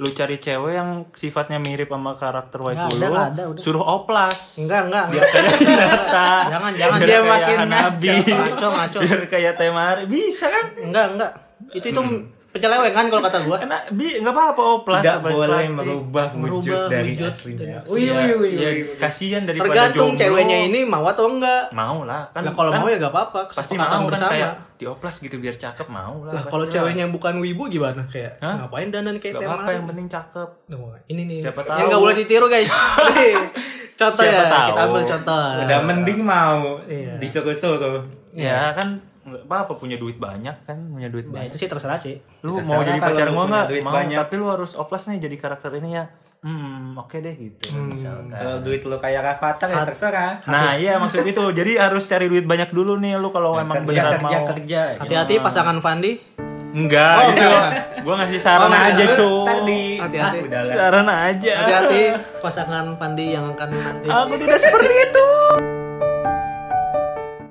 [SPEAKER 2] lu cari cewek yang sifatnya mirip sama karakter
[SPEAKER 1] Nggak ada,
[SPEAKER 2] waifu lu
[SPEAKER 1] nggak ada, udah.
[SPEAKER 2] suruh oplas
[SPEAKER 1] Enggak, enggak.
[SPEAKER 2] biar kayak [LAUGHS] Hinata
[SPEAKER 1] Jangan, jangan.
[SPEAKER 2] biar
[SPEAKER 1] Dia
[SPEAKER 2] kayak
[SPEAKER 3] makin
[SPEAKER 2] Hanabi
[SPEAKER 1] Ngaco, ngaco.
[SPEAKER 2] biar kayak Temari bisa kan
[SPEAKER 1] Enggak, enggak. Itu itu
[SPEAKER 2] Hmm.
[SPEAKER 1] penyelewengan kalau kata gua.
[SPEAKER 2] kena bi nggak apa-apa oplas
[SPEAKER 3] Tidak
[SPEAKER 2] oplas
[SPEAKER 3] boleh
[SPEAKER 2] plastik.
[SPEAKER 1] Iya,
[SPEAKER 3] merubah wujud
[SPEAKER 1] Merubah
[SPEAKER 3] dari
[SPEAKER 1] wujud
[SPEAKER 3] aslinya.
[SPEAKER 1] dari-
[SPEAKER 3] Wih,
[SPEAKER 2] Ya,
[SPEAKER 3] wih, wih,
[SPEAKER 2] ya,
[SPEAKER 3] wih.
[SPEAKER 2] kasihan daripada
[SPEAKER 1] iya, Tergantung
[SPEAKER 2] jomblo.
[SPEAKER 1] ceweknya ini mau atau enggak.
[SPEAKER 2] mau lah kan
[SPEAKER 1] Lah kalau
[SPEAKER 2] kan
[SPEAKER 1] mau ya gak apa-apa,
[SPEAKER 2] pasti
[SPEAKER 1] kesepakatan
[SPEAKER 2] mau kan
[SPEAKER 1] bersama.
[SPEAKER 2] kayak dioplas gitu biar cakep mau lah
[SPEAKER 1] Lah
[SPEAKER 2] pasti
[SPEAKER 1] kalau
[SPEAKER 2] lah.
[SPEAKER 1] ceweknya bukan wibu gimana kayak
[SPEAKER 2] Hah?
[SPEAKER 1] ngapain dandan kayak
[SPEAKER 2] nggak
[SPEAKER 1] tema
[SPEAKER 2] apa-apa yang penting cakep
[SPEAKER 1] ini nih
[SPEAKER 2] Siapa
[SPEAKER 1] yang
[SPEAKER 2] tahu.
[SPEAKER 1] nggak boleh ditiru
[SPEAKER 2] [LAUGHS]
[SPEAKER 1] guys Nih, contoh
[SPEAKER 2] Siapa
[SPEAKER 1] ya kita
[SPEAKER 2] tahu.
[SPEAKER 1] ambil contoh
[SPEAKER 3] Udah mending mau
[SPEAKER 1] Iya.
[SPEAKER 3] disuruh-suruh.
[SPEAKER 2] ya kan nggak apa-apa punya duit banyak kan punya duit
[SPEAKER 1] nah
[SPEAKER 2] banyak
[SPEAKER 1] itu sih terserah sih
[SPEAKER 2] lu
[SPEAKER 3] Terserah
[SPEAKER 2] mau jadi
[SPEAKER 3] kalau
[SPEAKER 2] pacar
[SPEAKER 3] lu
[SPEAKER 2] gua
[SPEAKER 3] punya
[SPEAKER 2] nggak
[SPEAKER 3] duit
[SPEAKER 2] mau
[SPEAKER 3] banyak.
[SPEAKER 2] tapi lu harus oplas nih jadi karakter ini ya hmm oke deh gitu misalkan
[SPEAKER 3] Kalau duit lu kayak Rafathar ya terserah.
[SPEAKER 2] nah iya maksud itu jadi harus cari duit banyak dulu nih lu kalau emang
[SPEAKER 3] kerja,
[SPEAKER 2] beneran
[SPEAKER 3] kerja,
[SPEAKER 2] mau
[SPEAKER 3] kerja. ya.
[SPEAKER 1] hati-hati pasangan Fandi
[SPEAKER 2] enggak
[SPEAKER 1] Oh,
[SPEAKER 3] iya.
[SPEAKER 2] gitu
[SPEAKER 1] enggak.
[SPEAKER 2] gua ngasih saran
[SPEAKER 3] nah,
[SPEAKER 1] Oh,
[SPEAKER 2] aja
[SPEAKER 1] enggak.
[SPEAKER 2] cuy
[SPEAKER 3] Ntar di
[SPEAKER 1] Hati-hati.
[SPEAKER 3] Ah, udah lah.
[SPEAKER 2] saran aja Oh,
[SPEAKER 1] hati-hati pasangan Fandi yang akan nanti
[SPEAKER 2] aku tidak seperti itu